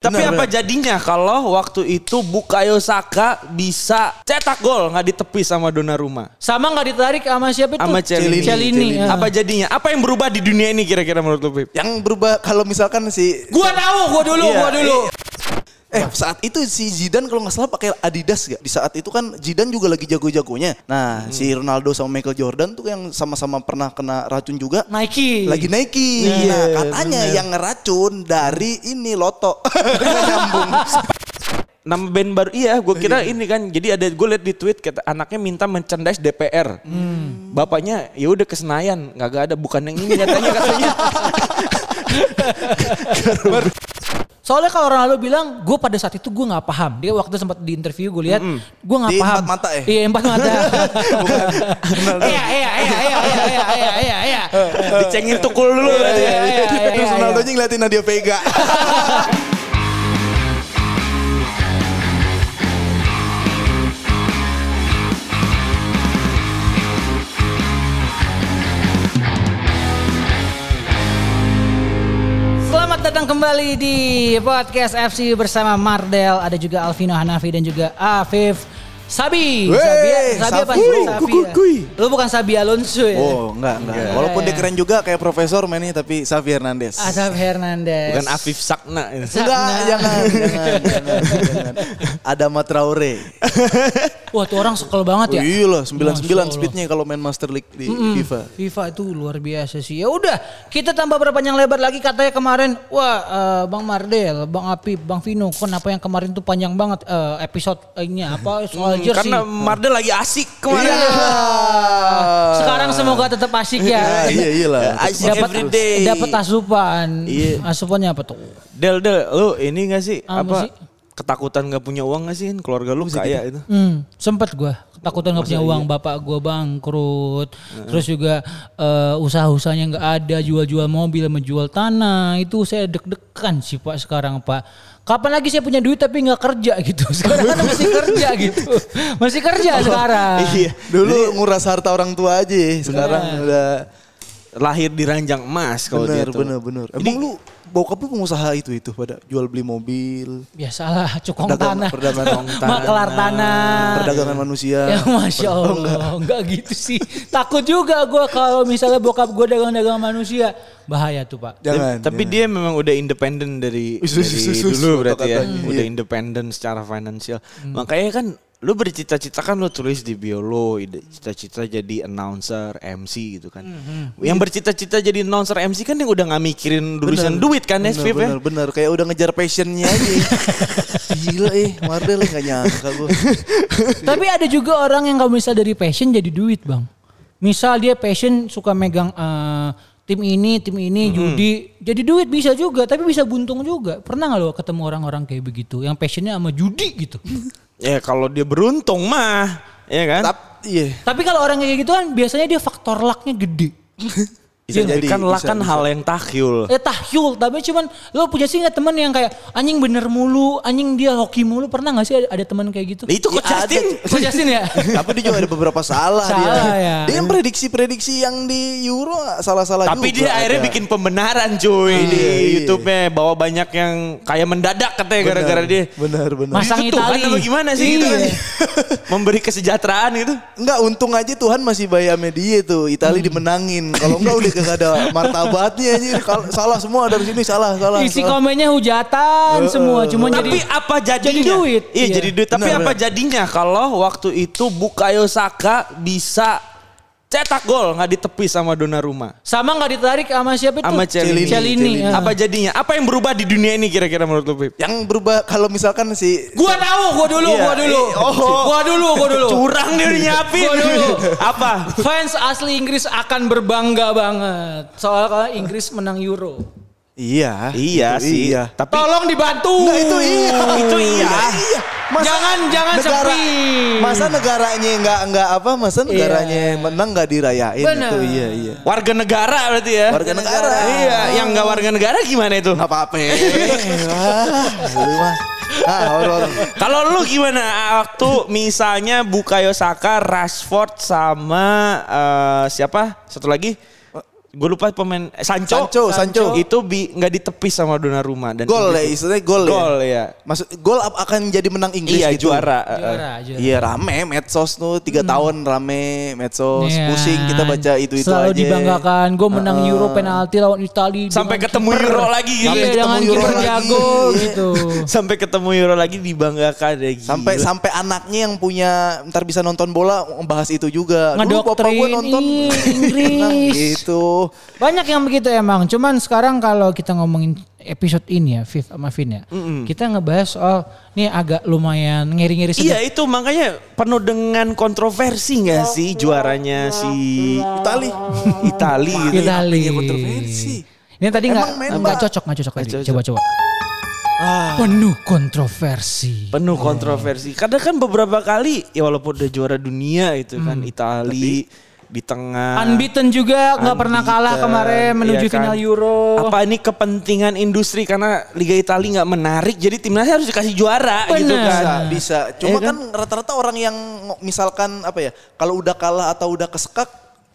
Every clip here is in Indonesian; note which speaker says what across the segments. Speaker 1: Tapi
Speaker 2: benar,
Speaker 1: apa
Speaker 2: benar.
Speaker 1: jadinya kalau waktu itu Bukayo Saka bisa cetak gol nggak ditepis sama Donnarumma?
Speaker 3: Sama nggak ditarik sama siapa itu?
Speaker 1: Sama Celini.
Speaker 3: Celini.
Speaker 2: Celini.
Speaker 3: ya.
Speaker 1: Apa jadinya? Apa yang berubah di dunia ini kira-kira menurut lu, Pip?
Speaker 2: Yang berubah kalau misalkan si
Speaker 3: Gua tahu, gua dulu,
Speaker 2: Iya,
Speaker 3: gua dulu.
Speaker 2: Eh saat itu si Zidane kalau nggak salah pakai Adidas gak? Di saat itu kan Zidane juga lagi jago-jagonya. Nah
Speaker 3: Hmm.
Speaker 2: si Ronaldo sama Michael Jordan tuh yang sama-sama pernah kena racun juga.
Speaker 3: Nike.
Speaker 2: Lagi Nike.
Speaker 3: Iya,
Speaker 2: nah katanya yang ngeracun dari ini Loto. Nggak nyambung.
Speaker 1: Nama band baru iya, gue kira ini kan. Jadi ada gue liat di tweet kata anaknya minta merchandise DPR.
Speaker 3: Hmm.
Speaker 1: Bapaknya ya udah ke Senayan, nggak ada bukan yang ini katanya katanya.
Speaker 3: Soalnya kalau Ronaldo bilang, gue pada saat itu gue nggak paham. Dia waktu sempat di interview gue lihat, gue nggak
Speaker 2: Di
Speaker 3: paham.
Speaker 2: empat mata ya?
Speaker 3: Iya empat mata. Iya iya iya iya iya iya iya iya iya.
Speaker 1: Dicengin tukul dulu berarti ya.
Speaker 3: Iya, iya, iya,
Speaker 2: Terus
Speaker 3: iya.
Speaker 2: Ronaldo nya ngeliatin Nadia Vega.
Speaker 3: Selamat datang kembali di podcast FC bersama Mardel, ada juga Alvino Hanafi dan juga Afif Sabi.
Speaker 2: Wey,
Speaker 3: Sabi apa
Speaker 2: Sabi.
Speaker 3: sih?
Speaker 2: Kui, kui, kui.
Speaker 3: ya? Lu bukan Sabi Alonso ya?
Speaker 2: oh enggak enggak. Walaupun dia keren juga kayak Profesor mainnya tapi Xavi Hernandez.
Speaker 3: Asaf Hernandez.
Speaker 1: Bukan Afif Sakna. ini.
Speaker 2: Enggak, jangan, jangan, jangan, jangan. Ada Matraore.
Speaker 3: Wah tuh orang sekel banget ya.
Speaker 2: Iya lah, 99
Speaker 3: Masya
Speaker 2: speednya kalau main Master League di FIFA.
Speaker 3: FIFA itu luar biasa sih. Ya udah, kita tambah berpanjang lebar lagi katanya kemarin, wah eh, Bang Mardel, Bang Apip, Bang Vino, kenapa yang kemarin tuh panjang banget eh, episode ini apa soal jersey.
Speaker 1: Hmm, Karena Marde lagi asik kemarin.
Speaker 3: Iya.
Speaker 1: eh,
Speaker 3: Sekarang semoga tetap asik ya.
Speaker 2: Iya, iya lah.
Speaker 1: Asik
Speaker 3: Dapat
Speaker 1: everyday. Iya.
Speaker 3: dapat asupan. Asupannya apa tuh?
Speaker 1: Del, Del, lu ini gak sih?
Speaker 3: Apa
Speaker 1: apa
Speaker 3: sih?
Speaker 1: ketakutan gak punya uang gak sih? Kan Keluarga lu kaya itu.
Speaker 3: Hmm, sempet gue ketakutan nggak punya
Speaker 2: iya?
Speaker 3: uang, bapak gue bangkrut, terus juga eh, usaha-usahanya nggak ada, jual-jual mobil, menjual tanah, itu saya deg-degan sih pak sekarang pak. Kapan lagi saya punya duit tapi nggak kerja gitu? Sekarang kan masih kerja gitu, masih kerja sekarang.
Speaker 2: Iya. Dulu nguras harta orang tua aja, sekarang
Speaker 1: Iya.
Speaker 2: udah
Speaker 1: Lahir di ranjang emas kalau dia
Speaker 2: bener,
Speaker 1: tuh.
Speaker 2: bener, bener. Emang lu bokap lu pengusaha itu itu pada jual beli mobil,
Speaker 3: Biasalah, cukong
Speaker 2: Pedagang-
Speaker 3: tanah,
Speaker 2: pedagang tanah.
Speaker 3: makelar tanah.
Speaker 1: Ah,
Speaker 2: perdagangan
Speaker 1: iya.
Speaker 2: manusia.
Speaker 3: Ya masya Allah, enggak. gitu sih. Takut juga gue kalau misalnya bokap gue dagang-dagang manusia, bahaya tuh pak.
Speaker 2: Jangan.
Speaker 1: Tapi
Speaker 2: jangan.
Speaker 1: dia memang udah independen dari,
Speaker 2: Wih, sus,
Speaker 1: dari
Speaker 2: sus, sus, sus,
Speaker 1: dulu berarti ya.
Speaker 2: kata-katanya.
Speaker 1: Udah
Speaker 2: Iya.
Speaker 1: independen secara finansial.
Speaker 3: Hmm.
Speaker 1: Makanya kan lu bercita-cita kan lu tulis di bio lo ide- cita-cita jadi announcer MC gitu kan.
Speaker 3: Hmm,
Speaker 1: Yang bercita-cita jadi announcer MC kan yang udah nggak mikirin urusan duit kan ya,
Speaker 2: bener,
Speaker 1: Fif, ya.
Speaker 2: bener, bener. Kayak udah ngejar passionnya aja. Gila eh, Mardel gak nyangka gue.
Speaker 3: Tapi ada juga orang yang kalau misal dari passion jadi duit bang. Misal dia passion suka megang eh, tim ini, tim ini, judi. Jadi duit bisa juga, tapi bisa buntung juga. Pernah nggak lo ketemu orang-orang kayak begitu? Yang passionnya sama judi gitu.
Speaker 1: Ya kalau dia beruntung mah, ya kan?
Speaker 2: Tapi, iya.
Speaker 3: tapi kalau orang kayak gitu kan biasanya dia faktor lucknya gede.
Speaker 1: Bisa
Speaker 2: Iya,
Speaker 1: jadi kan lah
Speaker 2: bisa,
Speaker 1: kan
Speaker 2: bisa.
Speaker 1: hal yang takhil.
Speaker 3: Eh tahyul, tapi cuman lo punya sih nggak teman yang kayak anjing bener mulu, anjing dia hoki mulu. Pernah nggak sih ada, ada teman kayak gitu?
Speaker 1: Nah, itu kok
Speaker 2: Ya, ada.
Speaker 1: Justin?
Speaker 3: Lo Justin ya?
Speaker 2: Tapi dia juga ada beberapa salah,
Speaker 3: Salah
Speaker 2: dia.
Speaker 3: ya.
Speaker 2: Dia yang prediksi-prediksi yang di Euro salah-salah
Speaker 1: Tapi dia
Speaker 2: juga
Speaker 1: akhirnya
Speaker 2: ada.
Speaker 1: bikin pembenaran cuy di
Speaker 2: Iya, iya.
Speaker 1: YouTube-nya bahwa banyak yang kayak mendadak katanya
Speaker 2: Benar,
Speaker 1: gara-gara dia.
Speaker 2: Benar, benar.
Speaker 3: Mas- Pasang
Speaker 1: Itu Tuhan
Speaker 3: Itali.
Speaker 1: apa gimana sih gitu
Speaker 3: Iya.
Speaker 1: kan? Memberi kesejahteraan gitu.
Speaker 2: Enggak untung aja Tuhan masih bayar sama dia tuh. Itali dimenangin. Kalau enggak udah kagak ada martabatnya aja. Kalau salah semua dari sini salah salah.
Speaker 3: Isi
Speaker 2: salah.
Speaker 3: komennya hujatan semua, cuman
Speaker 1: Tapi
Speaker 3: jadi
Speaker 1: apa jadinya?
Speaker 3: jadi duit.
Speaker 1: Iya,
Speaker 3: Iya.
Speaker 1: jadi duit. Tapi
Speaker 2: Benar,
Speaker 1: apa
Speaker 2: benar.
Speaker 1: jadinya kalau waktu itu Bukayo Saka bisa cetak gol nggak ditepis sama Donnarumma?
Speaker 3: Sama nggak ditarik sama siapa itu?
Speaker 1: Sama Celini.
Speaker 3: Celini. ya.
Speaker 1: Apa jadinya? Apa yang berubah di dunia ini kira-kira menurut lu, Pip?
Speaker 2: Yang berubah kalau misalkan si
Speaker 3: Gua tahu, gua dulu,
Speaker 2: Iya,
Speaker 3: gua dulu.
Speaker 2: iya, oh.
Speaker 3: Gua dulu, gua dulu.
Speaker 1: Curang dia udah nyiapin.
Speaker 3: Gua dulu.
Speaker 1: apa?
Speaker 3: Fans asli Inggris akan berbangga banget soal kalau Inggris menang Euro.
Speaker 2: Iya.
Speaker 1: Iya
Speaker 2: itu
Speaker 1: sih.
Speaker 2: Iya.
Speaker 1: Tapi
Speaker 3: Tolong dibantu.
Speaker 2: Nah, itu iya.
Speaker 1: Itu iya.
Speaker 3: Jangan, jangan sepi. Iya.
Speaker 2: Masa negaranya enggak enggak apa? Masa negaranya menang enggak dirayain
Speaker 3: Benar.
Speaker 2: itu. Iya, iya.
Speaker 1: warga negara berarti ya.
Speaker 2: Warga negara.
Speaker 1: Iya, yang nggak warga negara gimana itu?
Speaker 2: Enggak apa-apa. Wah, lu mah. Ah, horor.
Speaker 1: Kalau lu gimana waktu misalnya Bukayo Saka, Rashford sama eh, siapa? Satu lagi Gue lupa pemain eh, Sancho.
Speaker 2: Sancho, Sancho.
Speaker 1: Itu bi nggak ditepis sama Donnarumma dan
Speaker 2: Gol ya,
Speaker 1: Inggris-
Speaker 2: istilahnya gol,
Speaker 1: Gol
Speaker 2: ya.
Speaker 1: ya.
Speaker 2: Maksud gol ap- akan jadi menang Inggris
Speaker 1: Iya
Speaker 2: gitu.
Speaker 1: juara. eh, eh.
Speaker 3: Juara, juara.
Speaker 2: Iya rame medsos tuh tiga tahun rame
Speaker 3: Hmm.
Speaker 2: medsos
Speaker 3: Iya.
Speaker 2: pusing kita baca itu itu
Speaker 3: Selalu
Speaker 2: aja. Ah.
Speaker 3: dibanggakan. Gue menang Euro penalti lawan Italia.
Speaker 1: Sampai ketemu Euro lagi gitu.
Speaker 3: Iya,
Speaker 2: Sampai ketemu
Speaker 3: dengan
Speaker 2: Euro
Speaker 3: kiper
Speaker 2: lagi.
Speaker 3: jago gitu.
Speaker 1: Sampai ketemu Euro lagi dibanggakan ya gila.
Speaker 2: Sampai sampai anaknya yang punya ntar bisa nonton bola ngebahas itu juga. Dulu bapak gue
Speaker 3: Ngedoktrin,
Speaker 2: nonton
Speaker 3: iya,
Speaker 2: menang
Speaker 3: Inggris.
Speaker 2: gitu.
Speaker 3: Banyak yang begitu emang. Cuman sekarang kalau kita ngomongin episode ini ya, Viv sama Vin ya. Kita ngebahas soal nih agak lumayan ngiri-ngiri
Speaker 1: Iya
Speaker 3: sedikit.
Speaker 1: itu makanya penuh dengan kontroversi nggak sih juaranya si
Speaker 2: Itali.
Speaker 1: Itali gitu.
Speaker 3: Kita
Speaker 2: Apanya
Speaker 3: lihat.
Speaker 2: kontroversi?
Speaker 3: Ini tadi
Speaker 2: Emang
Speaker 3: nggak
Speaker 2: main
Speaker 3: nggak
Speaker 2: bak-
Speaker 3: cocok nggak cocok tadi.
Speaker 1: cocok.
Speaker 3: Coba coba.
Speaker 2: Ah,
Speaker 3: Penuh kontroversi.
Speaker 1: Penuh kontroversi. Kadang kan beberapa kali ya walaupun udah juara dunia itu kan Itali di tengah
Speaker 3: Hmm. Unbeaten juga nggak pernah kalah
Speaker 1: Unbeaten,
Speaker 3: kemarin menuju
Speaker 1: iya kan.
Speaker 3: final Euro.
Speaker 1: Apa ini kepentingan industri karena Liga Italia nggak menarik jadi timnasnya harus dikasih juara gitu kan.
Speaker 3: Bener.
Speaker 2: Bisa,
Speaker 3: Nah.
Speaker 2: bisa. Cuma kan rata-rata orang yang ngo- misalkan apa ya, kalau udah kalah atau udah kesekak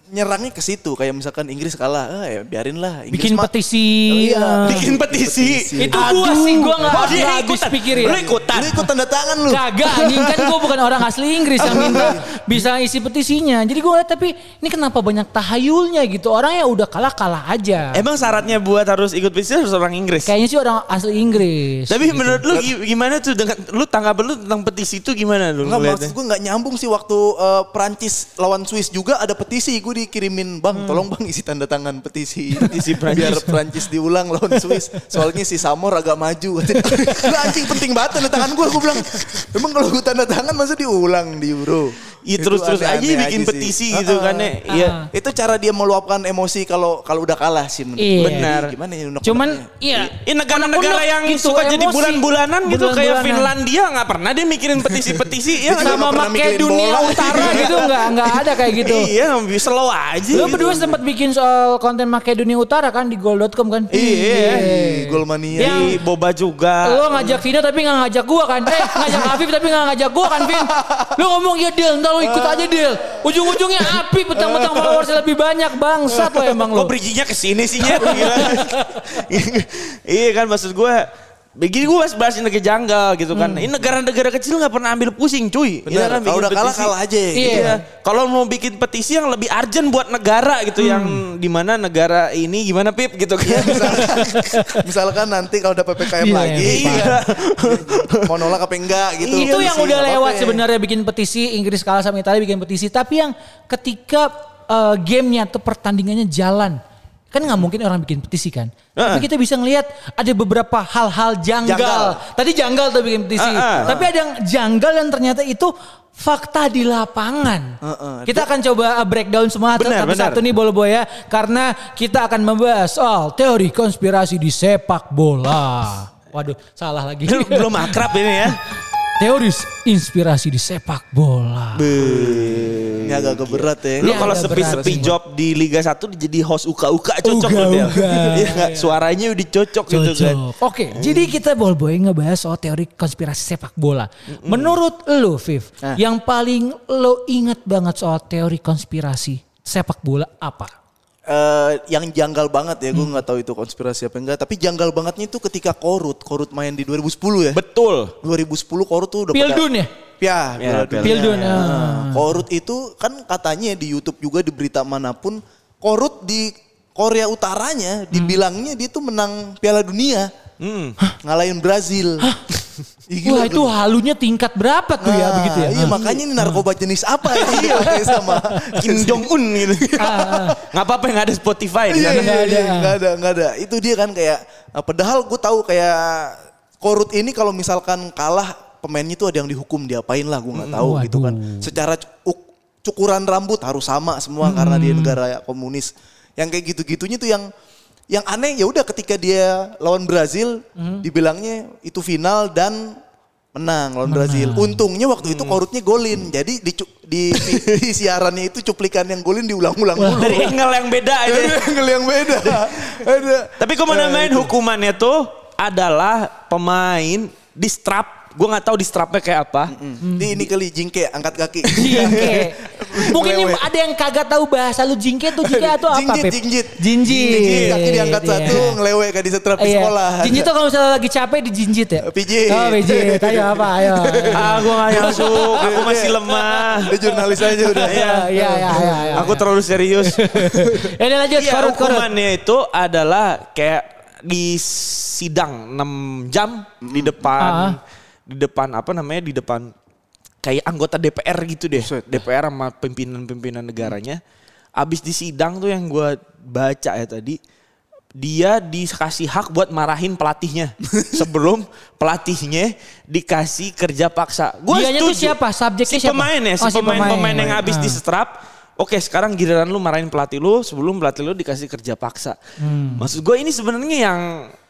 Speaker 2: nyerangnya ke situ kayak misalkan Inggris kalah, eh, ya biarin lah. Inggris
Speaker 3: Bikin
Speaker 2: mah-
Speaker 3: petisi. Eh,
Speaker 2: Iya.
Speaker 1: Bikin petisi.
Speaker 3: Hmm. Itu gua sih, gua nggak-
Speaker 1: Oh, dia
Speaker 3: nggak habis
Speaker 1: ikutan.
Speaker 3: pikirin.
Speaker 1: Lu ikutan.
Speaker 2: Lu ikut tanda tangan lu.
Speaker 3: Kagak anjing kan gue bukan orang asli Inggris yang minta bisa isi petisinya. Jadi gue tapi ini kenapa banyak tahayulnya gitu. Orang ya udah kalah-kalah aja.
Speaker 1: Emang syaratnya buat harus ikut petisi harus orang Inggris.
Speaker 3: Kayaknya sih orang asli Inggris. Gitu.
Speaker 1: Tapi menurut lu gi- gimana tuh dengan lu tanggapan lu tentang petisi itu gimana lu
Speaker 2: Enggak
Speaker 1: ngeliatnya?
Speaker 2: maksud gue nggak nyambung sih waktu eh, Prancis lawan Swiss juga ada petisi gue dikirimin bang
Speaker 1: Hmm.
Speaker 2: tolong bang isi tanda tangan petisi petisi biar Prancis diulang lawan Swiss soalnya si Samor agak maju Lu anjing penting banget tanda tangan gue gue bilang emang kalau gue tanda tangan masa diulang di Euro
Speaker 1: Iya
Speaker 2: Itu
Speaker 1: terus-terus aja
Speaker 2: aneh-aneh
Speaker 1: bikin
Speaker 2: sih.
Speaker 1: petisi
Speaker 2: Ah,
Speaker 1: gitu
Speaker 2: ah.
Speaker 1: kan ya. Iya.
Speaker 3: Ah.
Speaker 2: itu cara dia meluapkan emosi kalau kalau udah kalah sih menurut
Speaker 3: Iya.
Speaker 2: gue.
Speaker 1: Benar.
Speaker 2: gimana ya unek-uneknya?
Speaker 3: Cuman iya.
Speaker 1: Ini negara-negara
Speaker 3: Unek-unek
Speaker 1: yang
Speaker 3: gitu,
Speaker 1: suka jadi
Speaker 3: emosi.
Speaker 1: bulan-bulanan gitu kayak
Speaker 3: Bulan-bulanan.
Speaker 1: Finlandia nggak pernah dia mikirin petisi-petisi ya
Speaker 2: Betul.
Speaker 1: nggak
Speaker 3: Sama
Speaker 2: nggak pernah
Speaker 3: make
Speaker 2: mikirin
Speaker 3: dunia
Speaker 2: bola.
Speaker 3: utara gitu nggak nggak ada kayak gitu.
Speaker 1: Iya, slow aja.
Speaker 3: Lu
Speaker 1: gitu.
Speaker 3: berdua sempat bikin soal konten Makedonia Utara kan di gold.com kan?
Speaker 2: Iya,
Speaker 3: Iya.
Speaker 2: Golmania.
Speaker 1: Di
Speaker 3: Yang
Speaker 1: boba juga.
Speaker 3: Lo ngajak Vino tapi gak ngajak gua kan. Eh ngajak Afif tapi gak ngajak gua kan Vin. Lo ngomong ya Del ntar lo ikut
Speaker 1: Ah.
Speaker 3: aja Del. Ujung-ujungnya api petang-petang followersnya lebih banyak. Bangsat lo emang
Speaker 1: Kok
Speaker 3: lo.
Speaker 1: bridgingnya ke sini sih Nyet? Gila. iya kan maksud gue Begini gue bahas negara janggal gitu kan.
Speaker 3: Hmm.
Speaker 1: Ini negara-negara kecil nggak pernah ambil pusing cuy. Iya kan,
Speaker 2: Benar, kalau
Speaker 1: bikin
Speaker 2: udah kalah
Speaker 1: petisi.
Speaker 2: kalah aja
Speaker 3: Iya.
Speaker 1: Iya. Kalau mau bikin petisi yang lebih urgent buat negara gitu yang dimana negara ini gimana Pip gitu kan.
Speaker 2: Iya, misalkan, misalkan nanti kalau udah PPKM
Speaker 3: Iya,
Speaker 2: lagi,
Speaker 1: iya.
Speaker 2: mau nolak apa enggak gitu.
Speaker 3: Itu yang
Speaker 2: Polisi,
Speaker 3: udah
Speaker 2: nggak
Speaker 3: lewat
Speaker 2: apa-apa.
Speaker 3: sebenarnya bikin petisi. Inggris kalah sama Italia bikin petisi. Tapi yang ketika eh, gamenya atau pertandingannya jalan. Kan nggak mungkin orang bikin petisi kan. Tapi kita bisa ngelihat ada beberapa hal-hal janggal.
Speaker 2: Janggal.
Speaker 3: Tadi janggal tuh bikin petisi.
Speaker 1: Ah, ah.
Speaker 3: Tapi ada yang janggal yang ternyata itu fakta di lapangan.
Speaker 2: Heeh.
Speaker 3: Kita akan coba uh, breakdown semua
Speaker 1: Benar,
Speaker 3: satu-satu
Speaker 1: benar.
Speaker 3: nih Bolo Boy ya. Karena kita akan membahas soal teori konspirasi di sepak bola. Waduh, salah lagi.
Speaker 1: Lu Belum akrab ini ya.
Speaker 3: Teoris inspirasi di sepak bola.
Speaker 2: Ini agak agak berat ya.
Speaker 1: Lu
Speaker 3: Ini
Speaker 1: kalau
Speaker 3: agak
Speaker 1: sepi-sepi
Speaker 3: berat sih.
Speaker 1: job di Liga 1 jadi host uka-uka cocok
Speaker 3: Uga-uga.
Speaker 1: lu, Del. Iya nggak? Suaranya udah cocok, gitu kan.
Speaker 3: Cocok. Oke, jadi kita ball boy ngebahas soal teori konspirasi sepak bola. Menurut lo, Viv,
Speaker 2: Ah.
Speaker 3: yang paling lo ingat banget soal teori konspirasi sepak bola apa?
Speaker 2: Eh, yang janggal banget ya,
Speaker 3: Hmm.
Speaker 2: gue nggak tahu itu konspirasi apa enggak. Tapi janggal bangetnya itu ketika Korut, Korut main di 2010 ya.
Speaker 1: Betul.
Speaker 2: 2010 Korut tuh udah
Speaker 3: Pildun ya?
Speaker 2: Ya,
Speaker 1: Ya,
Speaker 2: Piala Dunia.
Speaker 3: Pildun. ah.
Speaker 2: Korut itu kan katanya di YouTube juga di berita manapun Korut di Korea Utaranya
Speaker 3: Hmm.
Speaker 2: dibilangnya dia tuh menang Piala Dunia.
Speaker 1: Hmm.
Speaker 2: Ngalahin Brazil. Ih, gila,
Speaker 3: Wah itu halunya tingkat berapa tuh ya
Speaker 2: Nah,
Speaker 3: begitu ya? Hmm.
Speaker 2: Iya, makanya ini narkoba jenis apa ya? Iya, kayak sama.
Speaker 1: Kim Jong Un gitu. Nggak apa-apa yang ada Spotify di
Speaker 2: Iya,
Speaker 1: sana.
Speaker 2: iya,
Speaker 3: nggak ada.
Speaker 2: iya, nggak ada, nggak ada. Itu dia kan kayak, nah, padahal gue tahu kayak Korut ini kalau misalkan kalah pemainnya tuh ada yang dihukum, diapain lah gue nggak tahu
Speaker 3: Waduh.
Speaker 2: gitu kan. Secara cuk- cukuran rambut harus sama semua karena dia negara komunis. Yang kayak gitu-gitunya tuh yang yang aneh ya udah ketika dia lawan Brazil dibilangnya itu final dan menang Mm. lawan Brazil. Untungnya waktu itu korutnya golin. Jadi di, cu- di, di siarannya itu cuplikan yang golin diulang-ulang dulu.
Speaker 1: Dari angle yang beda aja.
Speaker 2: Ada angle yang beda. Ada.
Speaker 1: Tapi kemana-mana hukumannya tuh adalah pemain distrap. Gue nggak tahu distrapnya kayak apa.
Speaker 2: Di ini kali jingke angkat kaki.
Speaker 3: Jingke. Iya, Mungkin ini ada yang kagak tahu bahasa lu jingke tuh jingke atau apa?
Speaker 2: Jinjit,
Speaker 3: Pip?
Speaker 2: jinjit.
Speaker 3: Jinjit.
Speaker 2: Jinjit, kaki diangkat
Speaker 3: Iya.
Speaker 2: satu, ngelewe kayak di setrap di
Speaker 3: Iya.
Speaker 2: sekolah. Iya.
Speaker 3: Jinjit tuh kalau misalnya lagi capek di jinjit ya?
Speaker 2: Pijit.
Speaker 3: Oh pijit. Ayo apa? Ayo.
Speaker 1: Ah, gue gak masuk. Aku masih lemah.
Speaker 2: Dia jurnalis aja udah.
Speaker 1: Iya.
Speaker 3: Iya, iya, iya. iya.
Speaker 1: Aku terlalu serius.
Speaker 3: Eh, Ini lanjut,
Speaker 1: Iya,
Speaker 3: korut, korut.
Speaker 1: hukumannya itu adalah kayak di sidang 6 jam di depan
Speaker 3: Ah.
Speaker 1: di depan apa namanya di depan kayak anggota DPR gitu deh. DPR sama pimpinan-pimpinan negaranya. Abis di sidang tuh yang gua baca ya tadi dia dikasih hak buat marahin pelatihnya sebelum pelatihnya dikasih kerja paksa. Gue
Speaker 3: Dianya tuh siapa?
Speaker 1: si
Speaker 3: Subjeknya siapa?
Speaker 1: pemain ya, si
Speaker 3: Oh, si
Speaker 1: pemain,
Speaker 3: pemain.
Speaker 1: pemain yang habis
Speaker 3: Ah.
Speaker 1: di strap. Oke, sekarang giliran lu marahin pelatih lu sebelum pelatih lu dikasih kerja paksa.
Speaker 3: Hmm.
Speaker 1: Maksud gue ini sebenarnya yang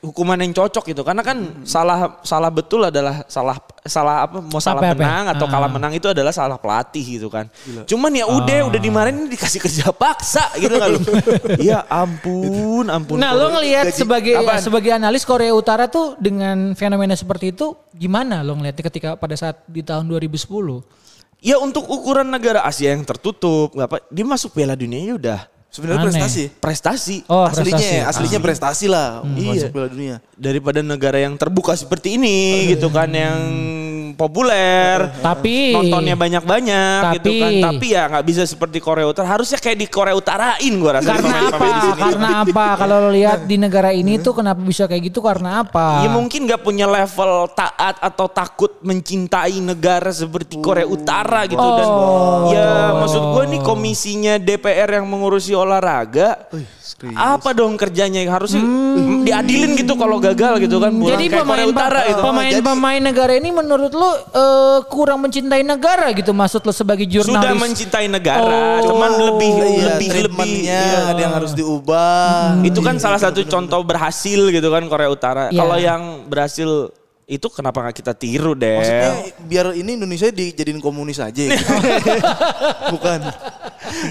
Speaker 1: hukuman yang cocok gitu. Karena kan salah salah betul adalah salah salah apa mau salah
Speaker 3: Apa, apa?
Speaker 1: menang atau
Speaker 3: Ah.
Speaker 1: kalah menang itu adalah salah pelatih gitu kan. Cuman ya udah
Speaker 3: Ah.
Speaker 1: udah dimarahin dikasih kerja paksa gitu kan lu. ya ampun, ampun.
Speaker 3: Nah,
Speaker 1: Korea.
Speaker 3: lo ngelihat
Speaker 2: gaji-
Speaker 3: sebagai
Speaker 1: apaan?
Speaker 3: sebagai analis Korea Utara tuh dengan fenomena seperti itu gimana lo ngelihatnya ketika pada saat di tahun 2010?
Speaker 1: Ya untuk ukuran negara Asia yang tertutup, nggak apa, dia masuk Piala Dunia ya udah
Speaker 2: Sebenarnya
Speaker 3: Aneh.
Speaker 2: prestasi.
Speaker 1: prestasi.
Speaker 3: Oh,
Speaker 2: aslinya,
Speaker 3: prestasi.
Speaker 2: aslinya prestasi lah
Speaker 1: Iya.
Speaker 2: masuk Piala Dunia.
Speaker 1: Daripada negara yang terbuka seperti ini gitu kan yang populer.
Speaker 3: Hmm. Tapi
Speaker 1: Nontonnya banyak-banyak gitu
Speaker 3: Tapi-
Speaker 1: kan. Tapi ya nggak bisa seperti Korea Utara. Harusnya kayak di Korea Utarain gua rasa.
Speaker 3: karena apa? Karena apa? Kalau lo lihat di negara ini tuh kenapa bisa kayak gitu? Karena
Speaker 1: Ya
Speaker 3: apa?
Speaker 1: mungkin nggak punya level taat atau takut mencintai negara seperti Korea
Speaker 3: Oh.
Speaker 1: Utara gitu dan ya maksud gua nih komisinya DPR yang mengurusi olahraga
Speaker 3: Oh, iya.
Speaker 1: apa dong kerjanya harusnya mm, diadilin gitu kalau gagal gitu kan pulang
Speaker 3: Hmm. Jadi
Speaker 1: kayak Korea
Speaker 3: pemain
Speaker 1: Utara gitu.
Speaker 3: pemain
Speaker 2: Jadi-
Speaker 3: pemain negara ini menurut lo eh, kurang mencintai negara gitu maksud lo sebagai jurnalis?
Speaker 1: sudah mencintai negara
Speaker 3: Oh.
Speaker 1: cuman lebih
Speaker 2: Iya,
Speaker 1: lebih lebih
Speaker 2: treatmentnya
Speaker 1: iya.
Speaker 2: ada yang harus diubah. Iya.
Speaker 1: itu kan salah satu contoh berhasil gitu kan Korea Utara
Speaker 3: gitu. Iya.
Speaker 1: kalau yang berhasil itu kenapa nggak kita tiru deh
Speaker 2: Maksudnya Eh, biar ini Indonesia dijadiin komunis aja. ya. Bukan.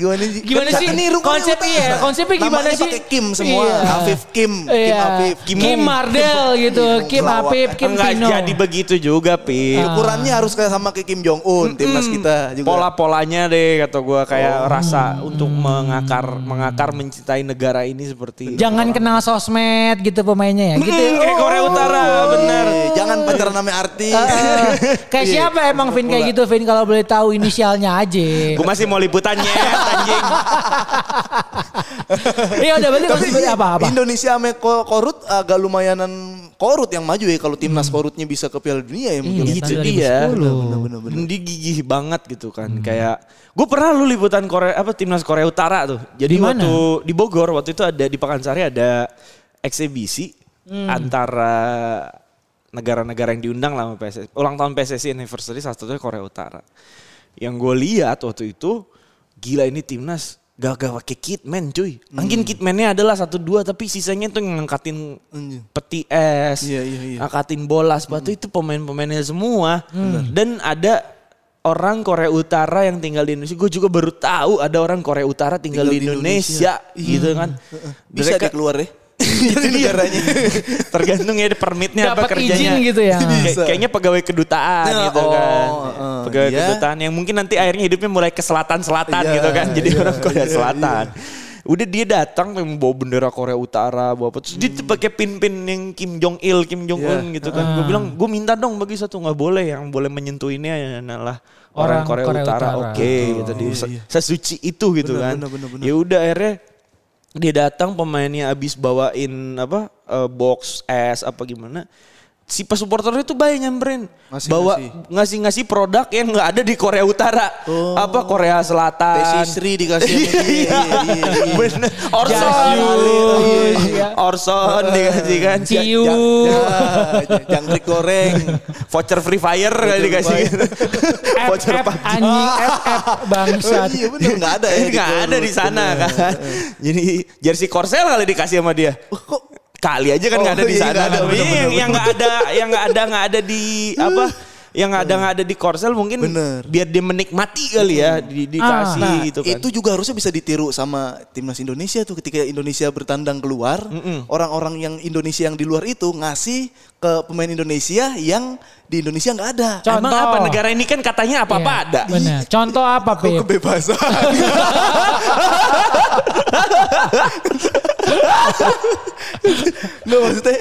Speaker 2: Gimana sih?
Speaker 3: Gimana sih? Konsep iya, konsepnya gimana sih?
Speaker 2: Pakai Kim semua.
Speaker 3: Iya.
Speaker 2: Afif Hmm. Kim, Kim
Speaker 3: Iya.
Speaker 2: Afif.
Speaker 3: Kim, Mardel gitu, Kim
Speaker 2: Pelawak.
Speaker 3: Apip, Kim Ah.
Speaker 1: Enggak
Speaker 3: Pino.
Speaker 1: jadi begitu juga, Pi.
Speaker 2: Ukurannya harus kayak sama kayak Kim Jong Un, timnas kita juga.
Speaker 1: Pola-polanya deh kata gua kayak rasa untuk mengakar mengakar mencintai negara ini seperti
Speaker 3: Jangan kenal sosmed gitu pemainnya ya. Oh. Gitu.
Speaker 1: Hmm, kayak Korea Utara, bener.
Speaker 2: Eh, Jangan pacaran sama artis.
Speaker 3: Eh, eh, kayak
Speaker 2: Iya.
Speaker 3: siapa emang Vin kayak gitu Vin kalau boleh tahu inisialnya aja.
Speaker 1: Gue masih mau liputannya, anjing.
Speaker 3: Iya udah berarti
Speaker 2: Tapi
Speaker 3: konsep apa apa.
Speaker 2: Indonesia sama Ko- Korut agak lumayanan Korut yang maju ya kalau timnas Korutnya bisa ke Piala Dunia ya mungkin.
Speaker 3: Hmm. Iya,
Speaker 1: itu
Speaker 3: tahun
Speaker 1: dia.
Speaker 3: 2010.
Speaker 1: Dia gigih banget gitu kan. Kayak gue pernah lu liputan Korea apa timnas Korea Utara tuh. Jadi
Speaker 3: Di mana?
Speaker 1: waktu di Bogor waktu itu ada di Pakansari ada eksibisi
Speaker 3: Hmm.
Speaker 1: antara negara-negara yang diundang lah sama PSSI. Ulang tahun PSSI anniversary salah satunya Korea Utara. Yang gue lihat waktu itu gila ini timnas gagah pakai kitman cuy. Mungkin kitmannya adalah satu dua tapi sisanya tuh yang ngangkatin
Speaker 2: Anjing.
Speaker 1: peti es,
Speaker 2: Iya, iya, iya. Hmm.
Speaker 1: angkatin bola sepatu itu pemain-pemainnya semua dan ada orang Korea Utara yang tinggal di Indonesia gue juga baru tahu ada orang Korea Utara tinggal, di Indonesia, gitu kan
Speaker 2: Hmm. Bisa
Speaker 1: Mereka-
Speaker 2: deh keluar ya. Itu
Speaker 1: Iya.
Speaker 2: negaranya.
Speaker 1: tergantung ya permitnya apa
Speaker 3: Dapat izin
Speaker 1: kerjanya
Speaker 3: gitu ya.
Speaker 1: Kayak- kayaknya pegawai kedutaan
Speaker 2: Nah,
Speaker 1: gitu
Speaker 2: oh,
Speaker 1: kan
Speaker 2: eh,
Speaker 1: pegawai
Speaker 2: iya.
Speaker 1: kedutaan yang mungkin nanti akhirnya hidupnya mulai ke selatan selatan
Speaker 2: Iya,
Speaker 1: gitu kan jadi
Speaker 2: iya,
Speaker 1: orang Korea
Speaker 2: iya,
Speaker 1: Selatan udah dia datang bawa bendera Korea Utara bawa apa terus dia tuh pakai pin-pin yang Kim Jong Il Kim Jong Un
Speaker 2: Hmm. Iya.
Speaker 1: gitu kan
Speaker 3: Ah.
Speaker 1: gue bilang gue minta dong bagi satu nggak boleh yang boleh menyentuh ini adalah orang,
Speaker 3: Orang
Speaker 1: Korea,
Speaker 3: Korea
Speaker 1: Utara,
Speaker 3: Utara.
Speaker 1: oke gitu dia se- sesuci itu gitu
Speaker 2: Iya, Benar,
Speaker 1: kan
Speaker 2: benar, benar, benar.
Speaker 1: ya udah akhirnya dia datang pemainnya abis bawain apa eh, box es apa gimana si pas supporternya tuh bayi nyamperin
Speaker 2: Ngasih,
Speaker 1: bawa
Speaker 2: ngasih.
Speaker 1: ngasih ngasih produk yang nggak ada di Korea Utara apa Korea Selatan
Speaker 2: Tesi Sri dikasih.
Speaker 1: Iya, iya, bener Orson
Speaker 2: Jas-
Speaker 1: Iya. Orson dikasih kan
Speaker 3: Ciu.
Speaker 2: Iya. Ya, Jangkrik goreng.
Speaker 1: voucher free fire kan dikasih
Speaker 3: F,
Speaker 1: voucher
Speaker 3: F,
Speaker 1: PUBG
Speaker 3: anjing F, F, bangsat.
Speaker 2: Iya bener nggak ada ya.
Speaker 1: Ini nggak ada di sana kan. Jadi jersey Korsel kali dikasih sama dia.
Speaker 2: Oh, Kok
Speaker 1: Kali aja kan
Speaker 2: Oh,
Speaker 1: nggak ada di
Speaker 2: iya,
Speaker 1: sana.
Speaker 2: nggak ada,
Speaker 1: Iya,
Speaker 2: bener-bener,
Speaker 1: yang- yang nggak ada, yang nggak ada, nggak ada di apa? Yang nggak ada nggak ada di Korsel mungkin
Speaker 2: Bener.
Speaker 1: biar dia menikmati kali ya di, dikasih
Speaker 3: Ah, nah,
Speaker 1: gitu kan.
Speaker 2: Itu juga harusnya bisa ditiru sama timnas Indonesia tuh ketika Indonesia bertandang keluar, orang-orang yang Indonesia yang di luar itu ngasih ke pemain Indonesia yang di Indonesia nggak ada.
Speaker 3: Contoh.
Speaker 1: Emang apa negara ini kan katanya apa-apa
Speaker 3: Iya,
Speaker 1: ada.
Speaker 3: Benar. Contoh apa,
Speaker 2: Kok
Speaker 3: Pip?
Speaker 2: kebebasan. Nggak maksudnya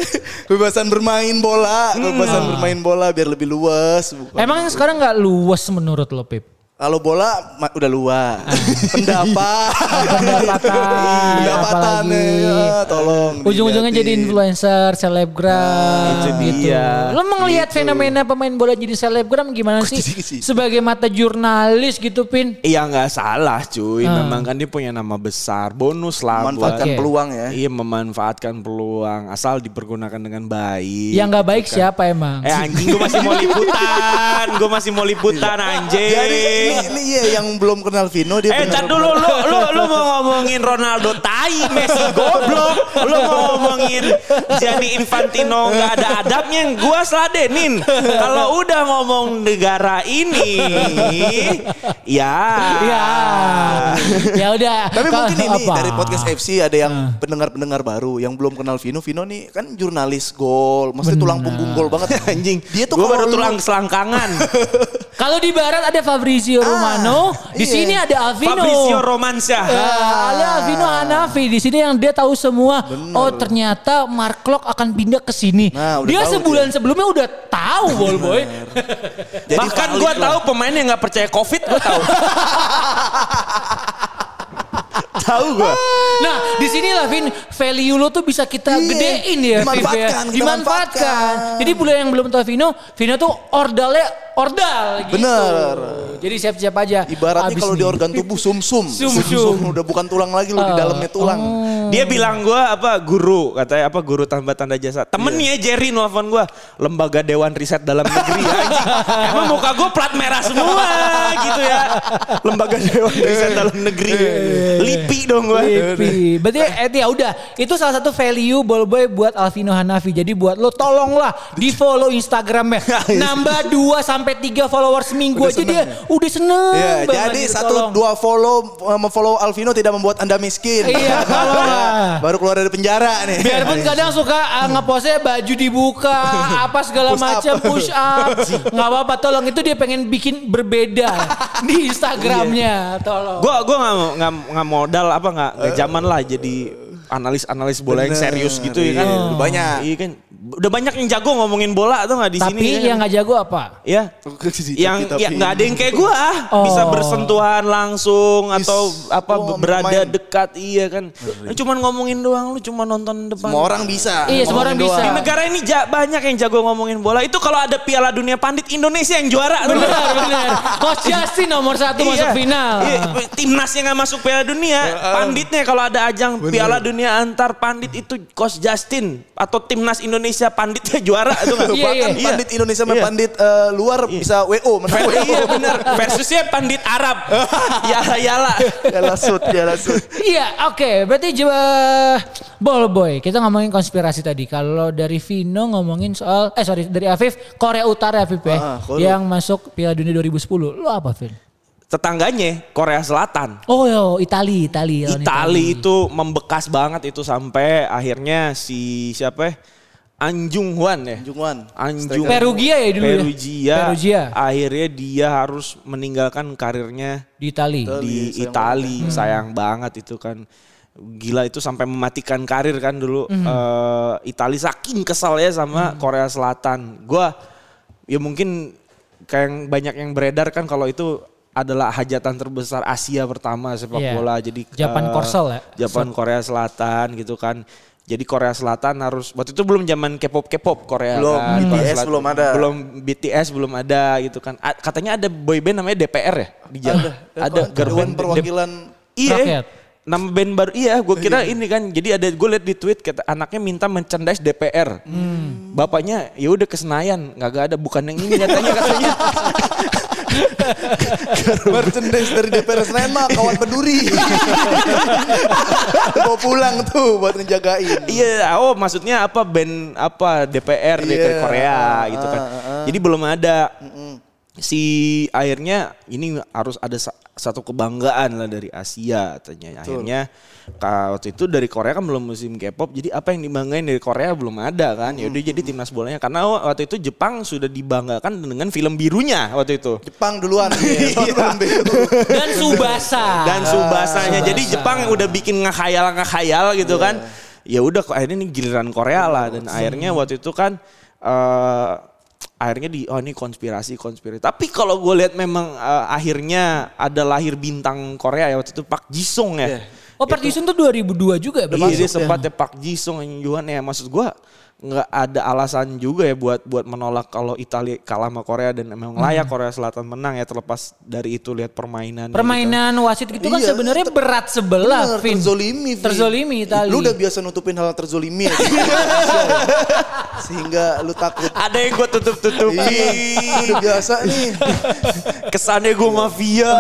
Speaker 2: kebebasan bermain bola, kebebasan bermain bola biar lebih luas. bukan.
Speaker 3: Emang yang sekarang nggak luas menurut lo, Pip?
Speaker 2: Kalau bola ma- udah luas.
Speaker 3: Ah.
Speaker 2: Pendapat.
Speaker 3: Pendapatan,
Speaker 2: Pendapatan.
Speaker 3: apalagi.
Speaker 2: ya, tolong.
Speaker 3: Ujung-ujungnya
Speaker 2: dilihatin.
Speaker 3: jadi influencer,
Speaker 2: Nah,
Speaker 3: selebgram
Speaker 1: itu
Speaker 3: gitu.
Speaker 1: dia.
Speaker 3: Lo melihat fenomena pemain bola jadi selebgram gimana sih?
Speaker 2: Gitu. jadi sih?
Speaker 3: Sebagai mata jurnalis gitu, Pin.
Speaker 1: Iya nggak salah
Speaker 3: Ah.
Speaker 1: cuy, memang kan dia punya nama besar, bonus lah buat
Speaker 2: Memanfaatkan
Speaker 3: Oke.
Speaker 2: peluang ya.
Speaker 1: Iya memanfaatkan peluang asal dipergunakan dengan baik.
Speaker 3: Yang Ya nggak
Speaker 2: Iya,
Speaker 3: baik siapa emang?
Speaker 1: Eh anjing gue masih mau liputan, gue masih mau liputan anjing.
Speaker 2: Iya. Jadi ini, ini ya yang belum kenal Vino dia
Speaker 1: Iya, eh, tar
Speaker 2: benar-benar-
Speaker 1: dulu lu lu lu mau ngomongin Ronaldo tai, Messi goblok. Lu mau ngomongin Gianni Infantino nggak ada adabnya, gua seladenin. Kalau udah ngomong negara ini, ya.
Speaker 3: Ya,
Speaker 2: Iya.
Speaker 3: ya udah.
Speaker 2: ah. Tapi
Speaker 3: Kalau-
Speaker 2: mungkin ini
Speaker 3: apa? Ah.
Speaker 2: dari podcast FC ada yang pendengar-pendengar baru yang belum kenal Vino. Vino nih kan jurnalis gol, maksudnya tulang punggung gol banget anjing. Dia tuh
Speaker 1: Gua baru
Speaker 2: kalau lu-
Speaker 1: tulang selangkangan.
Speaker 3: Kalau di barat ada Fabrizio Romano, di
Speaker 2: Ah, iya.
Speaker 3: sini ada Alvino.
Speaker 1: Fabrizio Romansyah.
Speaker 3: Ya,
Speaker 2: Ah.
Speaker 3: ada Alvino Hanafi di sini yang dia tahu semua. Oh ternyata Mark Klok akan pindah ke sini.
Speaker 2: Nah, udah
Speaker 3: dia
Speaker 2: tahu
Speaker 3: sebulan sebelumnya udah tahu ball boy.
Speaker 2: Jadi
Speaker 1: Bahkan
Speaker 2: valid
Speaker 1: gue
Speaker 2: lah.
Speaker 1: tahu pemain yang nggak percaya covid gue tahu. tahu gue.
Speaker 3: nah di sini lah Vin value lo tuh bisa kita
Speaker 2: Iya,
Speaker 3: gedein ya Vin, ya.
Speaker 2: dimanfaatkan, kita
Speaker 3: dimanfaatkan.
Speaker 2: manfaatkan.
Speaker 3: Jadi bulan yang belum tahu Vino, Vino tuh ordalnya ordal gitu.
Speaker 2: Bener.
Speaker 3: Jadi siap-siap aja.
Speaker 2: Ibaratnya
Speaker 3: Abis
Speaker 2: kalau di
Speaker 3: nih. Ah.
Speaker 2: organ tubuh sumsum.
Speaker 3: Sumsum.
Speaker 2: udah bukan tulang lagi loh di dalamnya tulang.
Speaker 3: Oh.
Speaker 1: Dia bilang gue apa guru katanya apa guru tanpa tanda jasa. Temennya Jerry nelfon gue lembaga Dewan Riset Dalam Negeri. ya, anjing. Emang muka gue plat merah semua gitu ya. Lembaga Dewan Riset Dalam Negeri. Lipi dong gue.
Speaker 3: Lipi. Berarti eh, ya udah, itu salah satu value Bolboy buat Alvino Hanafi. Jadi buat lo tolonglah di follow Instagramnya. Nambah 2 sampai 3 followers seminggu aja dia udah seneng.
Speaker 2: Ya,
Speaker 3: banget
Speaker 2: jadi
Speaker 3: gitu,
Speaker 2: satu
Speaker 3: tolong.
Speaker 2: dua follow eh, memfollow Alvino tidak membuat Anda miskin.
Speaker 3: Iya, tolong lah.
Speaker 2: Baru keluar dari penjara nih. Iya.
Speaker 3: Biarpun kadang suka uh, ngepostnya baju dibuka, apa segala
Speaker 2: Push up.
Speaker 3: macam push up. Nggak apa-apa, tolong itu dia pengen bikin berbeda di Instagramnya, tolong.
Speaker 1: Gue gue nggak mau- nggak nggak modal apa nggak nggak zaman lah jadi analis-analis bola yang
Speaker 2: Eh. Bener,
Speaker 1: serius gitu ya kan.
Speaker 2: iya, udah banyak.
Speaker 1: Iya kan. Udah banyak yang jago ngomongin bola tuh nggak di sini.
Speaker 3: Tapi
Speaker 1: ya kan?
Speaker 3: yang nggak jago apa?
Speaker 1: ya yang ya nggak ada yang kayak gua
Speaker 3: Oh.
Speaker 1: bisa bersentuhan langsung
Speaker 2: Is,
Speaker 1: atau apa
Speaker 2: oh,
Speaker 1: berada
Speaker 2: main.
Speaker 1: dekat iya kan lu cuman ngomongin doang lu cuma nonton depan
Speaker 2: Semua orang bisa.
Speaker 3: Iya, semua orang
Speaker 2: Ngomongin
Speaker 3: bisa.
Speaker 1: di
Speaker 2: doang.
Speaker 1: negara ini ja- banyak yang jago ngomongin bola itu kalau ada Piala Dunia Pandit Indonesia yang juara
Speaker 3: Bener, bener. Coach Justin nomor satu masuk
Speaker 1: Iya.
Speaker 3: final.
Speaker 1: Iya, timnasnya nggak masuk Piala Dunia, panditnya kalau ada ajang Piala Dunia antar pandit itu Coach Justin atau timnas Indonesia panditnya juara itu nggak?
Speaker 3: Iya, iya.
Speaker 2: Bahkan pandit Indonesia sama
Speaker 1: Iya.
Speaker 2: pandit eh, luar bisa WO. menang
Speaker 1: Ver-
Speaker 2: WO.
Speaker 1: iya bener. Versusnya pandit Arab. Yala yala.
Speaker 2: Ya lasut, ya lasut.
Speaker 3: Iya, oke. Berarti coba ball boy. Kita ngomongin konspirasi tadi. Kalau dari Vino ngomongin soal eh sorry dari Afif Korea Utara Afif ya,
Speaker 2: Ah, Korea.
Speaker 3: yang masuk Piala Dunia 2010. Lu apa, Vin?
Speaker 1: Tetangganya Korea Selatan.
Speaker 3: Oh, yo, Itali, Itali. lawan
Speaker 1: Itali itu membekas banget itu sampai akhirnya si siapa ya? Anjung Hwan ya.
Speaker 2: Jungwan.
Speaker 1: Anjung
Speaker 3: Perugia ya dulu ya?
Speaker 1: Perugia.
Speaker 3: Perugia.
Speaker 1: Akhirnya dia harus meninggalkan karirnya
Speaker 3: Di Itali.
Speaker 1: di
Speaker 2: sayang
Speaker 1: Itali
Speaker 3: Hmm.
Speaker 1: sayang banget itu kan gila itu sampai mematikan karir kan dulu
Speaker 3: Hmm.
Speaker 1: Eh, Itali saking kesal ya sama Korea Selatan gua ya mungkin kayak yang banyak yang beredar kan kalau itu adalah hajatan terbesar Asia pertama sepak
Speaker 3: Iya.
Speaker 1: bola jadi
Speaker 3: Japan
Speaker 1: eh,
Speaker 3: Korsel ya?
Speaker 1: Japan Korea Selatan gitu kan jadi Korea Selatan harus waktu itu belum zaman K-pop K-pop Korea
Speaker 2: Belum,
Speaker 1: kan.
Speaker 2: BTS
Speaker 1: Korea Selatan.
Speaker 2: belum ada.
Speaker 1: belum BTS belum ada gitu kan A- katanya ada boyband namanya DPR ya di
Speaker 2: Iya.
Speaker 1: Jawa ada girl
Speaker 2: Dewan
Speaker 1: band
Speaker 2: eh, perwakilan
Speaker 1: Iya.
Speaker 3: Rakyat.
Speaker 1: Nama band baru iya, gue kira ini kan. Jadi ada gue liat di tweet kata anaknya minta merchandise DPR. Bapaknya ya udah ke Senayan, nggak ada bukan yang ini katanya katanya.
Speaker 2: merchandise dari DPR Senayan mah kawan peduli. Bawa pulang tuh buat ngejagain.
Speaker 1: Iya, oh maksudnya apa band apa DPR DPR
Speaker 2: Iya,
Speaker 1: Korea
Speaker 2: ah,
Speaker 1: gitu kan.
Speaker 2: ah, ah.
Speaker 1: Jadi belum ada. si akhirnya ini harus ada sa- satu kebanggaan lah dari Asia katanya. Akhirnya ka- waktu itu dari Korea kan belum musim K-pop, jadi apa yang dibanggain dari Korea belum ada kan. Ya udah jadi timnas bolanya karena wa- waktu itu Jepang sudah dibanggakan dengan film birunya waktu itu.
Speaker 2: Jepang duluan. Iya. Film biru.
Speaker 3: Dan Subasa.
Speaker 1: Dan Subasanya. Jadi
Speaker 3: Tsubasa.
Speaker 1: Jepang udah bikin ngehayal-ngehayal gitu kan. Ya udah kok akhirnya ini giliran Korea lah dan akhirnya waktu itu kan eh akhirnya di oh ini konspirasi konspirasi. Tapi kalau gue lihat memang eh, akhirnya ada lahir bintang Korea ya waktu itu Park Jisung ya.
Speaker 3: Oh, Park Ji Sung tuh 2002 juga ya berarti?
Speaker 1: Iya dia sempat ya Park Jisung Yuhan ya maksud gue nggak ada alasan juga ya buat buat menolak kalau Italia kalah sama Korea dan memang layak Korea Selatan menang ya terlepas dari itu lihat permainan
Speaker 3: Iya. Permainan wasit gitu kan
Speaker 2: Iya,
Speaker 3: sebenarnya
Speaker 2: ter-
Speaker 3: berat sebelah,
Speaker 2: Bener,
Speaker 3: Vin.
Speaker 2: terzolimi. Vin.
Speaker 3: Terzolimi Itali.
Speaker 2: Lu udah biasa nutupin hal terzolimi ya, di Indonesia ya. Sehingga lu takut.
Speaker 1: ada yang gue
Speaker 2: Iya,
Speaker 1: tutup-tutupi
Speaker 2: udah biasa nih.
Speaker 1: kesannya gue mafia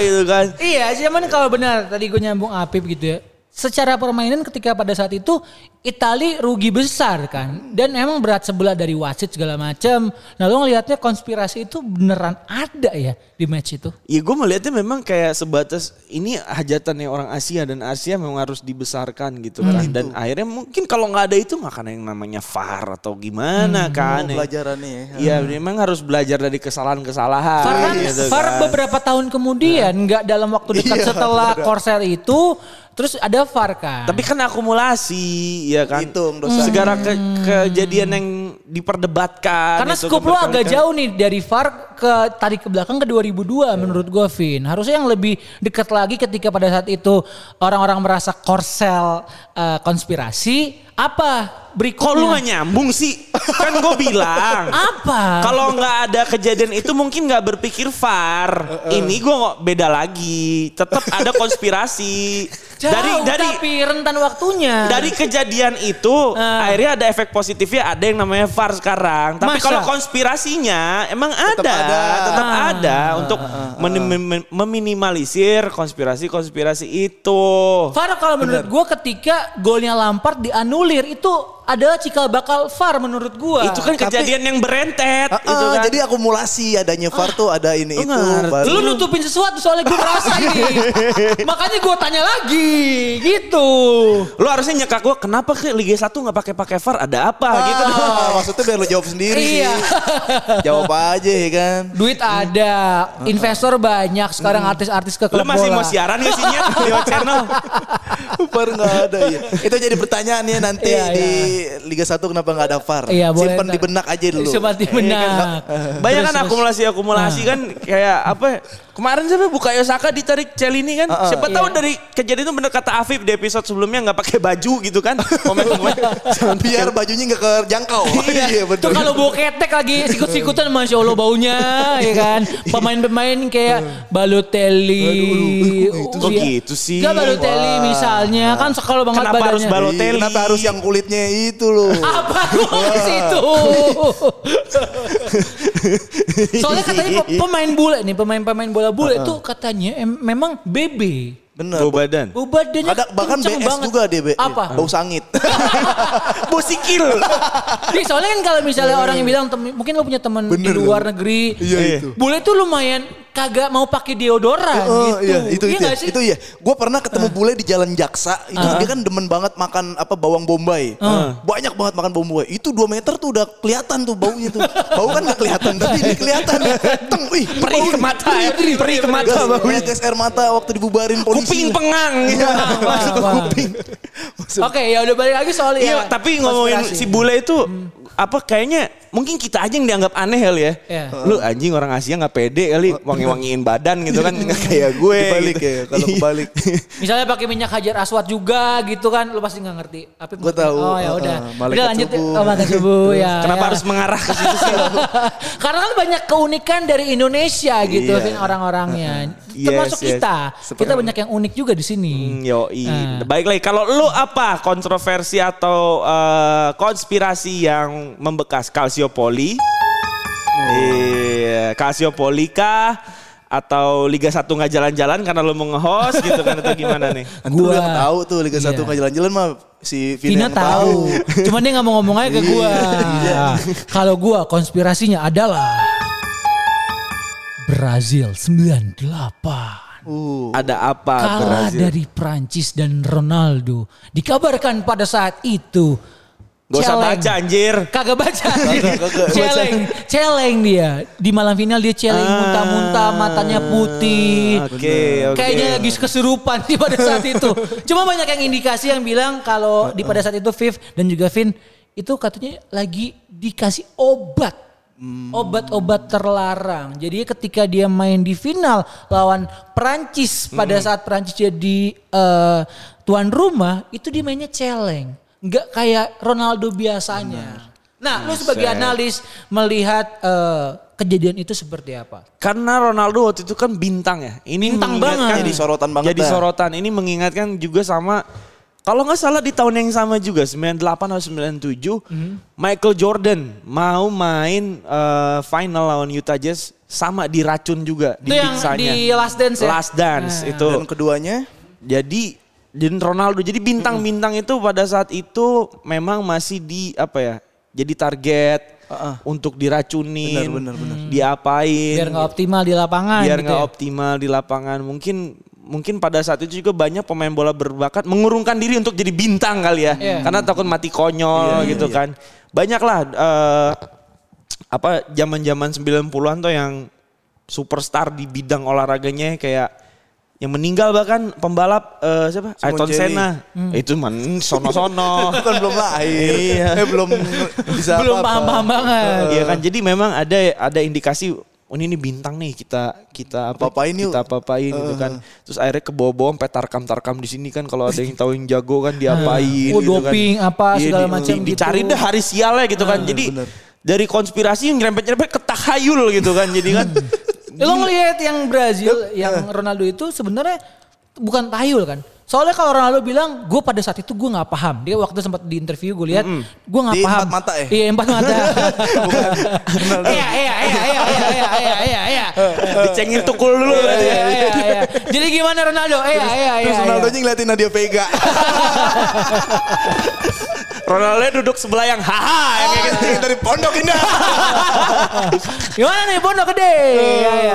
Speaker 1: gitu kan
Speaker 3: Iya, cuman kalau benar tadi gue nyambung Apip gitu ya. Secara permainan ketika pada saat itu Itali rugi besar kan. Dan emang berat sebelah dari wasit segala macam. Nah, lu ngelihatnya konspirasi itu beneran ada ya di match itu.
Speaker 1: ya gue melihatnya memang kayak sebatas ini hajatannya orang Asia dan Asia memang harus dibesarkan gitu kan
Speaker 3: Hmm.
Speaker 1: dan akhirnya mungkin kalau nggak ada itu nggak akan ada yang namanya far atau gimana
Speaker 3: Hmm,
Speaker 1: kan ya.
Speaker 2: Pelajarannya ya.
Speaker 1: Iya memang harus belajar dari kesalahan-kesalahan.
Speaker 3: VAR kan-
Speaker 1: gitu
Speaker 3: VAR
Speaker 1: kan.
Speaker 3: beberapa tahun kemudian nggak dalam waktu dekat
Speaker 2: Iya,
Speaker 3: setelah Corsair itu terus ada VAR kan.
Speaker 1: Tapi kan akumulasi ya kan.
Speaker 2: Hitung dosa.
Speaker 1: Segala ke- kejadian yang diperdebatkan.
Speaker 3: Hmm. Karena
Speaker 1: itu kan.
Speaker 3: scoop lo agak
Speaker 1: berkali-kali.
Speaker 3: jauh nih dari VAR ke tarik ke belakang ke 2002
Speaker 1: Iya.
Speaker 3: menurut gue Vin. Harusnya yang lebih dekat lagi ketika pada saat itu orang-orang merasa korsel eh, konspirasi apa berikutnya?
Speaker 1: Kok lu gak nyambung sih? Kan gue bilang.
Speaker 3: Ah, apa?
Speaker 1: Kalau nggak ada kejadian itu mungkin nggak berpikir far. Ini gue nggak beda lagi. Tetap ada konspirasi.
Speaker 3: Jauh,
Speaker 1: dari dari
Speaker 3: tapi rentan waktunya.
Speaker 1: dari kejadian itu akhirnya ada efek positifnya ada yang namanya far sekarang. Tapi
Speaker 3: Masa?
Speaker 1: kalau konspirasinya emang ada,
Speaker 2: Tetap
Speaker 1: tetap
Speaker 2: ada.
Speaker 1: ada, untuk menim- mem- meminimalisir konspirasi-konspirasi itu.
Speaker 3: VAR kalau menurut gue ketika golnya Lampard dianulir itu adalah cikal bakal VAR menurut gue.
Speaker 1: Itu kan
Speaker 2: Tapi-
Speaker 1: kejadian yang berentet
Speaker 3: Iya,
Speaker 2: Ah,
Speaker 1: gitu
Speaker 2: ah,
Speaker 1: kan.
Speaker 2: Jadi akumulasi adanya VAR tuh ada ini
Speaker 1: lu
Speaker 2: itu.
Speaker 1: ngerti.
Speaker 2: baru-
Speaker 3: Ah,
Speaker 2: gitu.
Speaker 3: Lu nutupin sesuatu soalnya gue merasa ini. Makanya gue tanya lagi gitu.
Speaker 1: Lu harusnya nyekak gue kenapa ke Liga 1 nggak pakai-pakai VAR ada apa
Speaker 2: Ah,
Speaker 1: gitu dong.
Speaker 2: Maksudnya biar lu jawab sendiri.
Speaker 3: Iya.
Speaker 2: jawab aja ya kan.
Speaker 3: Duit ada, investor banyak, sekarang
Speaker 2: Hmm.
Speaker 3: artis-artis ke
Speaker 1: Lu
Speaker 3: klub
Speaker 1: masih
Speaker 3: bola.
Speaker 1: mau siaran ya sini ya? lewat channel?
Speaker 2: VAR nggak ada ya. Itu jadi pertanyaannya nanti
Speaker 3: Iya,
Speaker 2: di Liga 1 kenapa nggak ada VAR?
Speaker 3: Iya, boleh.
Speaker 2: Simpen di benak aja dulu. Iya kan,
Speaker 3: Simpan di benak.
Speaker 1: Banyak kan
Speaker 3: Terus, terus.
Speaker 1: akumulasi-akumulasi
Speaker 2: Nah.
Speaker 1: kan kayak apa ya, Kemarin siapa buka Yosaka ditarik Celini kan. Siapa tahu
Speaker 3: Iya.
Speaker 1: dari kejadian itu bener kata Afif di episode sebelumnya nggak pakai baju gitu kan. Komen-komen.
Speaker 2: Iya.
Speaker 1: Jangan
Speaker 2: Biar bajunya nggak kerjangkau. iya
Speaker 3: Tuh
Speaker 2: betul.
Speaker 3: kalau boketek lagi sikut-sikutan Masya Allah baunya ya kan. Pemain-pemain kayak Balotelli.
Speaker 2: Aduh,
Speaker 1: kok gitu sih?
Speaker 3: Gak Balotelli misalnya kan kalau banget
Speaker 1: Kenapa harus
Speaker 3: badannya.
Speaker 1: Balotelli?
Speaker 2: Iya, Kenapa harus yang kulitnya itu loh?
Speaker 3: Apa lu ke situ? Soalnya katanya pe- pemain bola nih, pemain-pemain bola bola itu katanya em- memang BB.
Speaker 2: Bener.
Speaker 1: Bau badan.
Speaker 3: Bau badannya
Speaker 2: Ada bahkan
Speaker 3: kenceng
Speaker 2: BS
Speaker 3: banget.
Speaker 2: juga DB.
Speaker 3: Apa?
Speaker 2: Bau sangit.
Speaker 1: Bosikil.
Speaker 3: Nih, soalnya kan kalau misalnya orang yang bilang tem- mungkin lo punya temen di
Speaker 2: Bener, kan?
Speaker 3: luar negeri.
Speaker 2: Iya, itu.
Speaker 3: Bule tuh lumayan kagak mau pakai deodoran gitu.
Speaker 2: Oh, iya, itu itu,
Speaker 3: nggak
Speaker 2: ya, itu ya. Gue pernah
Speaker 1: Eh.
Speaker 2: ketemu bule di Jalan Jaksa. Itu dia kan demen banget makan apa bawang
Speaker 1: Eh.
Speaker 2: bombay. Banyak banget makan bawang bombay. Itu 2 meter tuh udah kelihatan tuh baunya tuh. Bau kan gak kelihatan, tapi ini kelihatan. Teng, wih,
Speaker 1: Perih
Speaker 2: bau
Speaker 1: ke
Speaker 2: nih.
Speaker 1: mata ya.
Speaker 2: Perih,
Speaker 1: Perih ke mata
Speaker 2: Gas-
Speaker 1: baunya.
Speaker 2: Gas air mata waktu dibubarin polisi.
Speaker 1: Kuping pengang. gitu.
Speaker 2: Iya, masuk ke
Speaker 3: wah.
Speaker 2: kuping. Masuk.
Speaker 3: Oke, ya udah balik lagi soal
Speaker 1: Iya,
Speaker 3: ya,
Speaker 1: tapi ngomongin
Speaker 3: konspirasi.
Speaker 1: si bule itu apa kayaknya mungkin kita aja yang dianggap aneh kali ya.
Speaker 3: Iya.
Speaker 1: Lu anjing orang Asia nggak pede kali wangi-wangiin badan gitu kan nggak kayak gue.
Speaker 2: Dibalik
Speaker 1: gitu.
Speaker 2: ya, kalau
Speaker 1: Iya.
Speaker 2: kebalik.
Speaker 3: Misalnya pakai minyak hajar aswat juga gitu kan, lu pasti nggak ngerti. Apip
Speaker 2: Gua
Speaker 3: ngerti.
Speaker 2: tahu,
Speaker 3: Oh ya
Speaker 2: uh,
Speaker 3: udah.
Speaker 2: uh, malaikat
Speaker 3: udah lanjut.
Speaker 2: subuh.
Speaker 3: Oh, malaikat subuh ya.
Speaker 1: Kenapa
Speaker 3: ya.
Speaker 1: harus mengarah ke situ sih?
Speaker 3: Karena kan banyak keunikan dari Indonesia gitu
Speaker 2: Iya.
Speaker 3: Vin, orang-orangnya.
Speaker 1: Yes,
Speaker 3: Termasuk
Speaker 1: yes.
Speaker 3: kita.
Speaker 1: Seperti- Hmm,
Speaker 3: Kita banyak yang unik juga di sini.
Speaker 1: Yoi.
Speaker 3: Ah.
Speaker 1: Baik lagi kalau lu apa kontroversi atau eh, konspirasi yang membekas Calciopoli? Iya, Calciopoli kah? Atau Liga 1 nggak jalan-jalan karena lu mau nge-host gitu kan atau gimana nih?
Speaker 2: Nanti lu
Speaker 3: Gua-
Speaker 2: yang tahu tuh Liga 1
Speaker 3: Iya.
Speaker 2: nggak jalan-jalan mah si Vina
Speaker 3: Vina
Speaker 2: yang
Speaker 3: tahu. Cuman dia nggak mau ngomong aja ke gua. Kalau gua konspirasinya adalah Brazil 98.
Speaker 2: Uh.
Speaker 1: Ada apa
Speaker 3: kalah
Speaker 1: Ah, Brazil?
Speaker 3: dari Prancis dan Ronaldo. Dikabarkan pada saat itu
Speaker 1: Gak usah
Speaker 3: celeng.
Speaker 1: baca anjir.
Speaker 3: Kagak baca.
Speaker 2: kagak baca.
Speaker 3: celeng, celeng dia. Di malam final dia celeng muntah-muntah, matanya putih.
Speaker 1: Oke, Ah. oke.
Speaker 3: Kayaknya lagi kesurupan sih pada saat itu. Cuma banyak yang indikasi yang bilang kalau di pada saat itu Viv dan juga Vin itu katanya lagi dikasih obat. Obat-obat terlarang. Jadi ketika dia main di final lawan Prancis pada saat Prancis jadi eh, tuan rumah itu dia mainnya celeng. Nggak kayak Ronaldo biasanya. Nah, lu sebagai
Speaker 1: Buset.
Speaker 3: analis melihat eh, kejadian itu seperti apa?
Speaker 1: Karena Ronaldo waktu itu kan bintang ya. Ini
Speaker 3: Bintang
Speaker 1: mengingatkan-
Speaker 3: banget.
Speaker 2: Jadi sorotan banget ya.
Speaker 1: Jadi
Speaker 2: dah.
Speaker 1: sorotan. Ini mengingatkan juga sama kalau nggak salah di tahun yang sama juga 98 atau 97 Michael Jordan mau main eh, final lawan Utah Jazz sama diracun juga
Speaker 3: Itu
Speaker 1: di
Speaker 3: yang
Speaker 1: pizzanya.
Speaker 3: di Last Dance ya?
Speaker 1: Last Dance itu.
Speaker 2: Dan keduanya
Speaker 1: Jadi dan Ronaldo jadi bintang-bintang itu pada saat itu memang masih di apa ya? Jadi target
Speaker 2: Ah, ah.
Speaker 1: untuk diracunin,
Speaker 2: Benar, benar, benar.
Speaker 1: diapain,
Speaker 3: Biar nggak optimal di lapangan
Speaker 1: biar
Speaker 3: gitu
Speaker 1: nggak
Speaker 3: ya?
Speaker 1: optimal di lapangan. Mungkin mungkin pada saat itu juga banyak pemain bola berbakat mengurungkan diri untuk jadi bintang kali ya,
Speaker 3: Iya.
Speaker 1: karena takut mati konyol gitu kan. Banyaklah eh, apa zaman-zaman 90-an tuh yang superstar di bidang olahraganya kayak yang meninggal bahkan pembalap eh, siapa?
Speaker 2: Simon
Speaker 1: Ayrton
Speaker 2: Jelly.
Speaker 1: Senna.
Speaker 3: Hmm.
Speaker 1: Itu men sono-sono.
Speaker 2: kan belum lahir. Eh, belum
Speaker 3: Iya.
Speaker 2: bisa
Speaker 3: Belum
Speaker 2: apa-apa. Eh,
Speaker 3: paham-paham banget.
Speaker 1: Iya kan, jadi memang ada ada indikasi oh ini, ini bintang nih kita kita apa
Speaker 2: Apa-apain yuk.
Speaker 1: kita apa-apain gitu kan. Terus akhirnya kebobohan pet tarkam-tarkam di sini kan kalau ada yang tahu yang jago kan diapain
Speaker 3: Oh,
Speaker 1: gitu kan.
Speaker 3: doping apa,
Speaker 1: Iya,
Speaker 3: segala
Speaker 1: di-
Speaker 3: macam
Speaker 1: di- Dicari
Speaker 3: gitu.
Speaker 1: deh hari sialnya gitu kan. Jadi
Speaker 2: bener.
Speaker 1: dari konspirasi yang nyerempet-nyerempet ke tahayul gitu kan. Jadi kan
Speaker 3: Eh, Lo ngelihat yang Brazil, yang
Speaker 2: Eh.
Speaker 3: Ronaldo itu sebenarnya bukan tayul kan? Soalnya kalau Ronaldo bilang, gue pada saat itu gue nggak paham. Dia waktu sempat di interview gue lihat, gue nggak
Speaker 2: Di
Speaker 3: paham.
Speaker 2: empat mata ya?
Speaker 3: Iya empat mata.
Speaker 2: Bukan. Ronaldo.
Speaker 3: Iya iya iya iya iya iya iya iya iya.
Speaker 2: Eh.
Speaker 1: dicengin tukul dulu kan.
Speaker 3: Iya,
Speaker 1: berarti.
Speaker 3: iya, iya, iya. Jadi gimana Ronaldo? Iya iya iya.
Speaker 2: Terus
Speaker 3: iya.
Speaker 2: Ronaldonya ngeliatin Nadia Vega.
Speaker 1: Ronaldo duduk sebelah yang haha yang kayak gitu.
Speaker 2: Dari Pondok Indah.
Speaker 3: Gimana nih Bondo gede? Iya iya.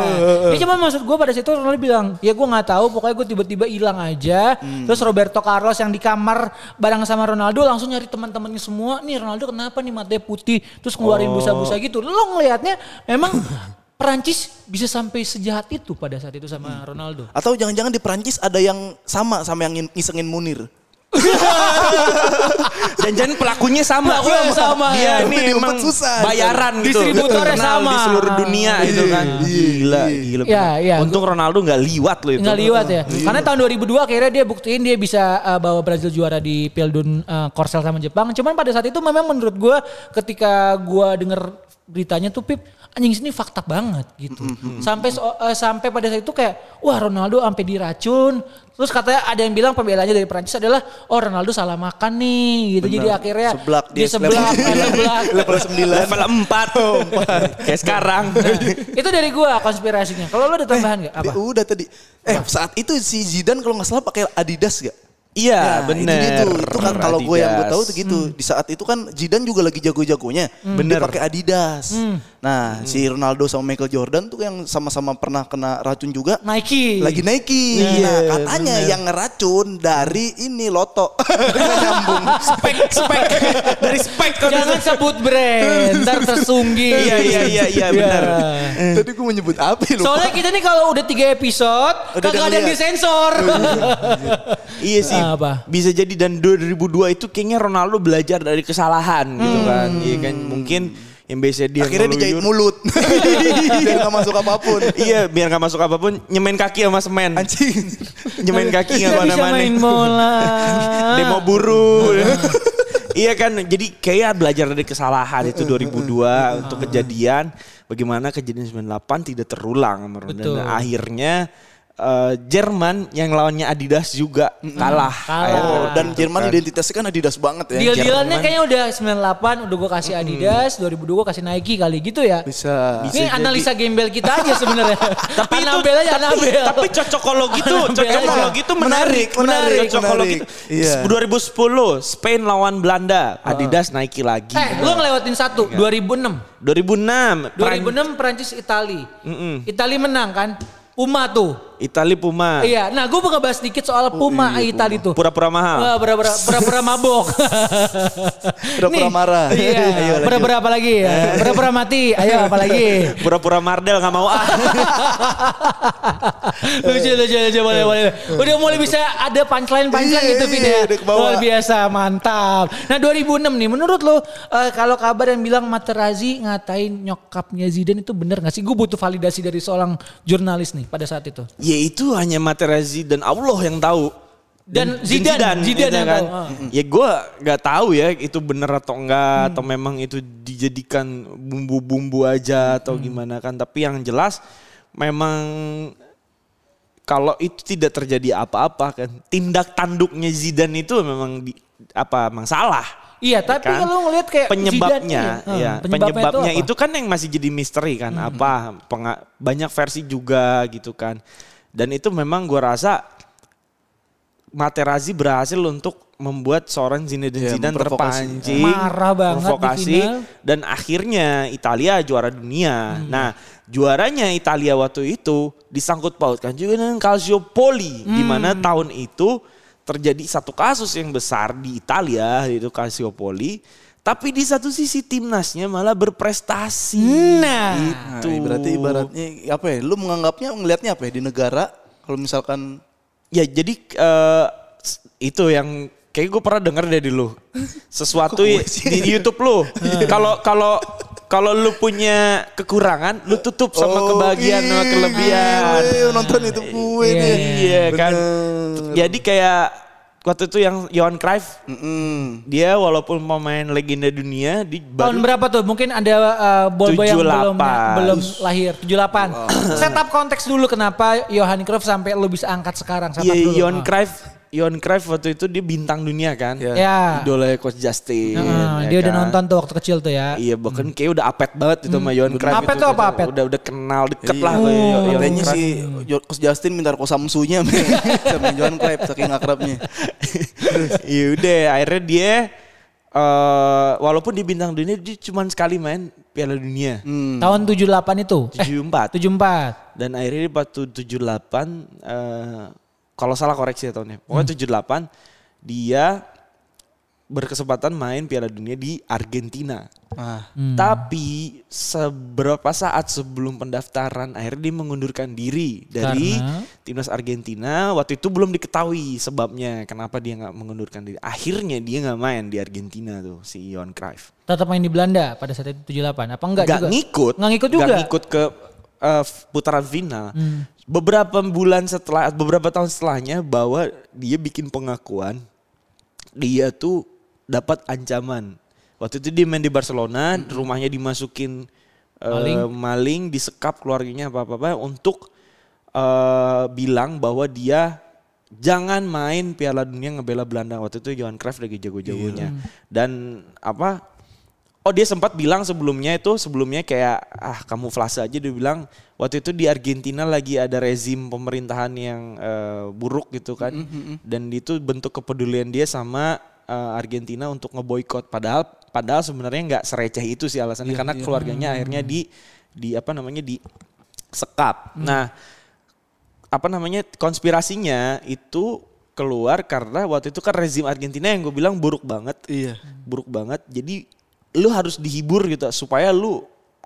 Speaker 3: Ini cuma maksud gue pada situ Ronaldo bilang, ya gue nggak tahu, pokoknya gue tiba-tiba hilang aja. Terus Roberto Carlos yang di kamar bareng sama Ronaldo langsung nyari teman-temannya semua. Nih Ronaldo kenapa nih matanya putih? Terus ngeluarin busa-busa gitu. Lo ngelihatnya memang Perancis bisa sampai sejahat itu pada saat itu sama Ronaldo.
Speaker 2: Atau jangan-jangan di Prancis ada yang sama sama yang ngisengin Munir.
Speaker 1: Dan jangan pelakunya sama. Iya,
Speaker 3: Pelakunya sama,
Speaker 1: Dia
Speaker 3: ya.
Speaker 1: ini
Speaker 2: Tapi diumpet
Speaker 1: emang
Speaker 2: susah.
Speaker 1: bayaran gitu.
Speaker 3: Distributornya
Speaker 1: Terkenal
Speaker 3: sama.
Speaker 1: Di seluruh dunia gitu kan. Gila, gila.
Speaker 3: Iya, iya.
Speaker 1: Untung Ronaldo nggak liwat loh itu.
Speaker 3: Nggak liwat ya. Karena tahun 2002 akhirnya dia buktiin dia bisa uh, bawa Brazil juara di Pialdun uh, Korsel sama Jepang. Cuman pada saat itu memang menurut gua ketika gua denger beritanya tuh Pip anjing sini fakta banget gitu. Sampai so- uh, sampai pada saat itu kayak wah Ronaldo sampai diracun. Terus katanya ada yang bilang pembelanya dari Prancis adalah oh Ronaldo salah makan nih gitu. Jadi akhirnya
Speaker 2: Seblak
Speaker 3: dia,
Speaker 2: dia,
Speaker 3: seblak, seblak.
Speaker 2: Level 9.
Speaker 1: Level 4. Kayak sekarang.
Speaker 3: itu dari gua konspirasinya. Kalau lu ada tambahan nggak? Apa?
Speaker 2: Dia udah tadi. Eh saat itu si Zidane kalau nggak salah pakai Adidas gak?
Speaker 1: Iya,
Speaker 2: Nah, Itu,
Speaker 1: bener.
Speaker 2: dia tuh. itu kan kalau gue yang
Speaker 1: Adidas.
Speaker 2: gue
Speaker 1: Hmm.
Speaker 2: tahu tuh gitu. Di saat itu kan Zidane juga lagi jago-jagonya. Dia
Speaker 1: Bener. Hmm.
Speaker 2: pakai Adidas. Nah si Ronaldo sama Michael Jordan tuh yang sama-sama pernah kena racun juga.
Speaker 3: Nike.
Speaker 2: Lagi Nike.
Speaker 1: Iya,
Speaker 2: nah katanya yang ngeracun dari ini Loto. Nyambung.
Speaker 1: Spek, spek. Dari spek. kan.
Speaker 3: Jangan sebut brand, ntar tersungging.
Speaker 1: Iya, iya, iya, iya, benar.
Speaker 2: Tadi gue menyebut apa ya, lupa.
Speaker 3: Soalnya kita nih kalau udah tiga episode,
Speaker 2: Udah
Speaker 3: kagak ada yang
Speaker 2: ngeliat.
Speaker 3: disensor.
Speaker 1: Iya sih.
Speaker 3: Apa?
Speaker 1: Bisa jadi dan 2002 itu kayaknya Ronaldo belajar dari kesalahan gitu
Speaker 3: Hmm.
Speaker 1: kan. Iya kan mungkin yang biasa dia
Speaker 2: Akhirnya dijahit
Speaker 1: ngeluyur-
Speaker 2: mulut. Biar gak masuk apapun.
Speaker 1: Iya biar gak masuk apapun nyemen kaki sama semen
Speaker 2: Anjing.
Speaker 1: Nyemen kaki gak
Speaker 3: Nggak bisa
Speaker 1: mana-mana
Speaker 3: main bola.
Speaker 1: Demo buru Iya kan jadi kayak belajar dari kesalahan itu 2002 untuk kejadian Bagaimana kejadian 98 tidak terulang menurut
Speaker 3: Betul.
Speaker 1: Dan akhirnya eh, Jerman yang lawannya Adidas juga kalah.
Speaker 2: Oh,
Speaker 1: Akhirnya.
Speaker 2: dan Jerman identitasnya kan Adidas banget ya.
Speaker 3: Deal-dealannya kayaknya udah 98 udah gue kasih Adidas, 2002 gue kasih Nike kali gitu ya.
Speaker 2: Bisa.
Speaker 3: Ini analisa gembel kita aja sebenarnya. ya, tapi anabel aja
Speaker 1: tapi,
Speaker 3: anabel.
Speaker 1: tapi cocokologi itu,
Speaker 3: Anabel aja.
Speaker 1: cocokologi itu menarik,
Speaker 2: Menarik,
Speaker 1: Cocokologi
Speaker 2: menarik.
Speaker 1: itu.
Speaker 2: Iya.
Speaker 1: 2010 Spain lawan Belanda, Adidas Nike lagi.
Speaker 3: Ah. eh, lu ngelewatin satu 2006.
Speaker 1: 2006 Peran-
Speaker 3: 2006 Prancis Itali. Itali menang kan? Puma tuh.
Speaker 1: Itali Puma.
Speaker 3: Iya. Nah, gue bakal bahas sedikit soal Puma Itali tuh.
Speaker 1: Pura-pura mahal.
Speaker 3: Wah, pura-pura pura-pura mabok.
Speaker 2: Pura-pura
Speaker 3: Nih,
Speaker 2: marah.
Speaker 3: Iya.
Speaker 2: Ayo, lanjut.
Speaker 3: Pura-pura apa lagi ya? Pura-pura mati. Ayo apa lagi?
Speaker 1: Pura-pura Mardel nggak mau ah.
Speaker 3: lucu lucu lucu boleh boleh udah mulai bisa ada punchline punchline
Speaker 2: Iya,
Speaker 3: gitu
Speaker 2: iya,
Speaker 3: video
Speaker 2: udah kebawa.
Speaker 3: luar biasa mantap nah 2006 nih menurut lo eh, kalau kabar yang bilang Materazzi ngatain nyokapnya Zidane itu bener gak sih gue butuh validasi dari seorang jurnalis nih pada saat itu
Speaker 1: Ya itu hanya Materazzi dan Allah yang tahu.
Speaker 3: Dan Zidane, Zidane
Speaker 1: gitu
Speaker 3: yang
Speaker 1: kan.
Speaker 3: tahu, ah. Hmm.
Speaker 1: Ya gue nggak tahu ya itu bener atau enggak atau memang itu dijadikan bumbu-bumbu aja
Speaker 3: Hmm.
Speaker 1: atau gimana kan. Tapi yang jelas memang kalau itu tidak terjadi apa-apa kan tindak tanduknya Zidane itu memang di, apa memang salah.
Speaker 3: iya tapi
Speaker 1: kan?
Speaker 3: kalau ngelihat kayak
Speaker 1: penyebabnya
Speaker 3: Zidane, iya.
Speaker 1: ya
Speaker 3: Hmm,
Speaker 1: penyebabnya,
Speaker 3: apa? Hmm.
Speaker 1: itu, kan yang masih jadi misteri kan apa penga- banyak versi juga gitu kan dan itu memang gua rasa Materazzi berhasil untuk membuat seorang Zinedine
Speaker 2: Ya,
Speaker 1: Zidane Iya,
Speaker 2: memprovokasi.
Speaker 1: terpancing,
Speaker 3: Marah banget di
Speaker 1: provokasi,
Speaker 3: final.
Speaker 1: dan akhirnya Italia juara dunia. Nah, juaranya Italia waktu itu disangkut pautkan juga dengan Calciopoli, di mana tahun itu terjadi satu kasus yang besar di Italia yaitu Calciopoli. Tapi di satu sisi timnasnya malah berprestasi.
Speaker 3: Nah.
Speaker 1: Gitu.
Speaker 2: Nah, berarti ibaratnya apa ya? Lu menganggapnya ngelihatnya apa ya di negara kalau misalkan
Speaker 1: Ya jadi eh, s- itu yang kayak gue pernah dengar dari lu. Sesuatu i- di YouTube lu.
Speaker 2: Hmm.
Speaker 1: Kalau kalau kalau lu punya kekurangan, lu tutup sama
Speaker 2: Oh,
Speaker 1: kebahagiaan sama
Speaker 2: ih,
Speaker 1: kelebihan.
Speaker 2: gue nonton itu gue
Speaker 3: Iya,
Speaker 2: nih.
Speaker 1: Iya kan.
Speaker 2: Bener.
Speaker 1: Jadi kayak waktu itu yang Johan Cruyff
Speaker 2: Mm-mm.
Speaker 1: dia walaupun pemain legenda dunia di
Speaker 3: Tahun
Speaker 1: baru-
Speaker 3: berapa tuh? Mungkin ada uh, boy-boy yang belum
Speaker 1: 78.
Speaker 3: belum lahir. 78. Set up konteks dulu kenapa Johan Cruyff sampai lu bisa angkat sekarang. Set up
Speaker 1: Iya,
Speaker 3: dulu.
Speaker 1: Johan
Speaker 3: Ah.
Speaker 1: Cruyff, Johan Cruyff waktu itu dia bintang dunia kan.
Speaker 2: Iya.
Speaker 3: Ya.
Speaker 1: Idolanya Coach Justin.
Speaker 3: Heeh,
Speaker 1: ya
Speaker 3: dia udah
Speaker 1: kan?
Speaker 3: nonton tuh waktu kecil tuh ya.
Speaker 1: Iya bahkan kayak udah apet banget itu sama Johan Cruyff.
Speaker 3: Hmm. Apet
Speaker 1: itu.
Speaker 3: tuh apa apet?
Speaker 1: Udah udah kenal deket
Speaker 2: Iya.
Speaker 1: lah kayak Johan Cruyff.
Speaker 2: Katanya si Jo- Coach Justin minta rokok Samsunya men. sama Johan Cruyff saking akrabnya.
Speaker 1: Iya udah akhirnya dia eh walaupun di bintang dunia dia cuma sekali main Piala Dunia
Speaker 2: Hmm.
Speaker 3: Tahun 78 itu. Eh,
Speaker 1: 74
Speaker 3: 74.
Speaker 1: dan akhirnya dia waktu 78 eh kalau salah koreksi ya tahunnya.
Speaker 3: Hmm.
Speaker 1: Pokoknya 78 dia berkesempatan main Piala Dunia di Argentina.
Speaker 2: Ah.
Speaker 1: Tapi seberapa saat sebelum pendaftaran akhirnya dia mengundurkan diri dari
Speaker 3: Karena?
Speaker 1: timnas Argentina. Waktu itu belum diketahui sebabnya kenapa dia nggak mengundurkan diri. Akhirnya dia nggak main di Argentina tuh si Johan Cruyff.
Speaker 3: Tetap main di Belanda pada saat itu 78. Apa enggak
Speaker 1: Nggak
Speaker 3: juga?
Speaker 1: ngikut,
Speaker 3: Nggak ngikut juga. Hmm.
Speaker 1: nggak ngikut ke eh, putaran final. Beberapa bulan setelah, beberapa tahun setelahnya bahwa dia bikin pengakuan dia tuh dapat ancaman. Waktu itu dia main di Barcelona, rumahnya dimasukin eh,
Speaker 3: Maling.
Speaker 1: maling. disekap keluarganya apa-apa untuk eh, bilang bahwa dia jangan main Piala Dunia ngebela Belanda. Waktu itu Johan Cruyff lagi jago-jagonya. Dan apa? Oh dia sempat bilang sebelumnya itu sebelumnya kayak ah kamu flase aja dia bilang waktu itu di Argentina lagi ada rezim pemerintahan yang eh, buruk gitu kan dan itu bentuk kepedulian dia sama eh, Argentina untuk ngeboikot padahal padahal sebenarnya nggak sereceh itu sih alasannya karena keluarganya akhirnya di di apa namanya di sekap. Nah apa namanya konspirasinya itu keluar karena waktu itu kan rezim Argentina yang gue bilang buruk banget
Speaker 2: Iya.
Speaker 1: buruk banget. Jadi lu harus dihibur gitu supaya lu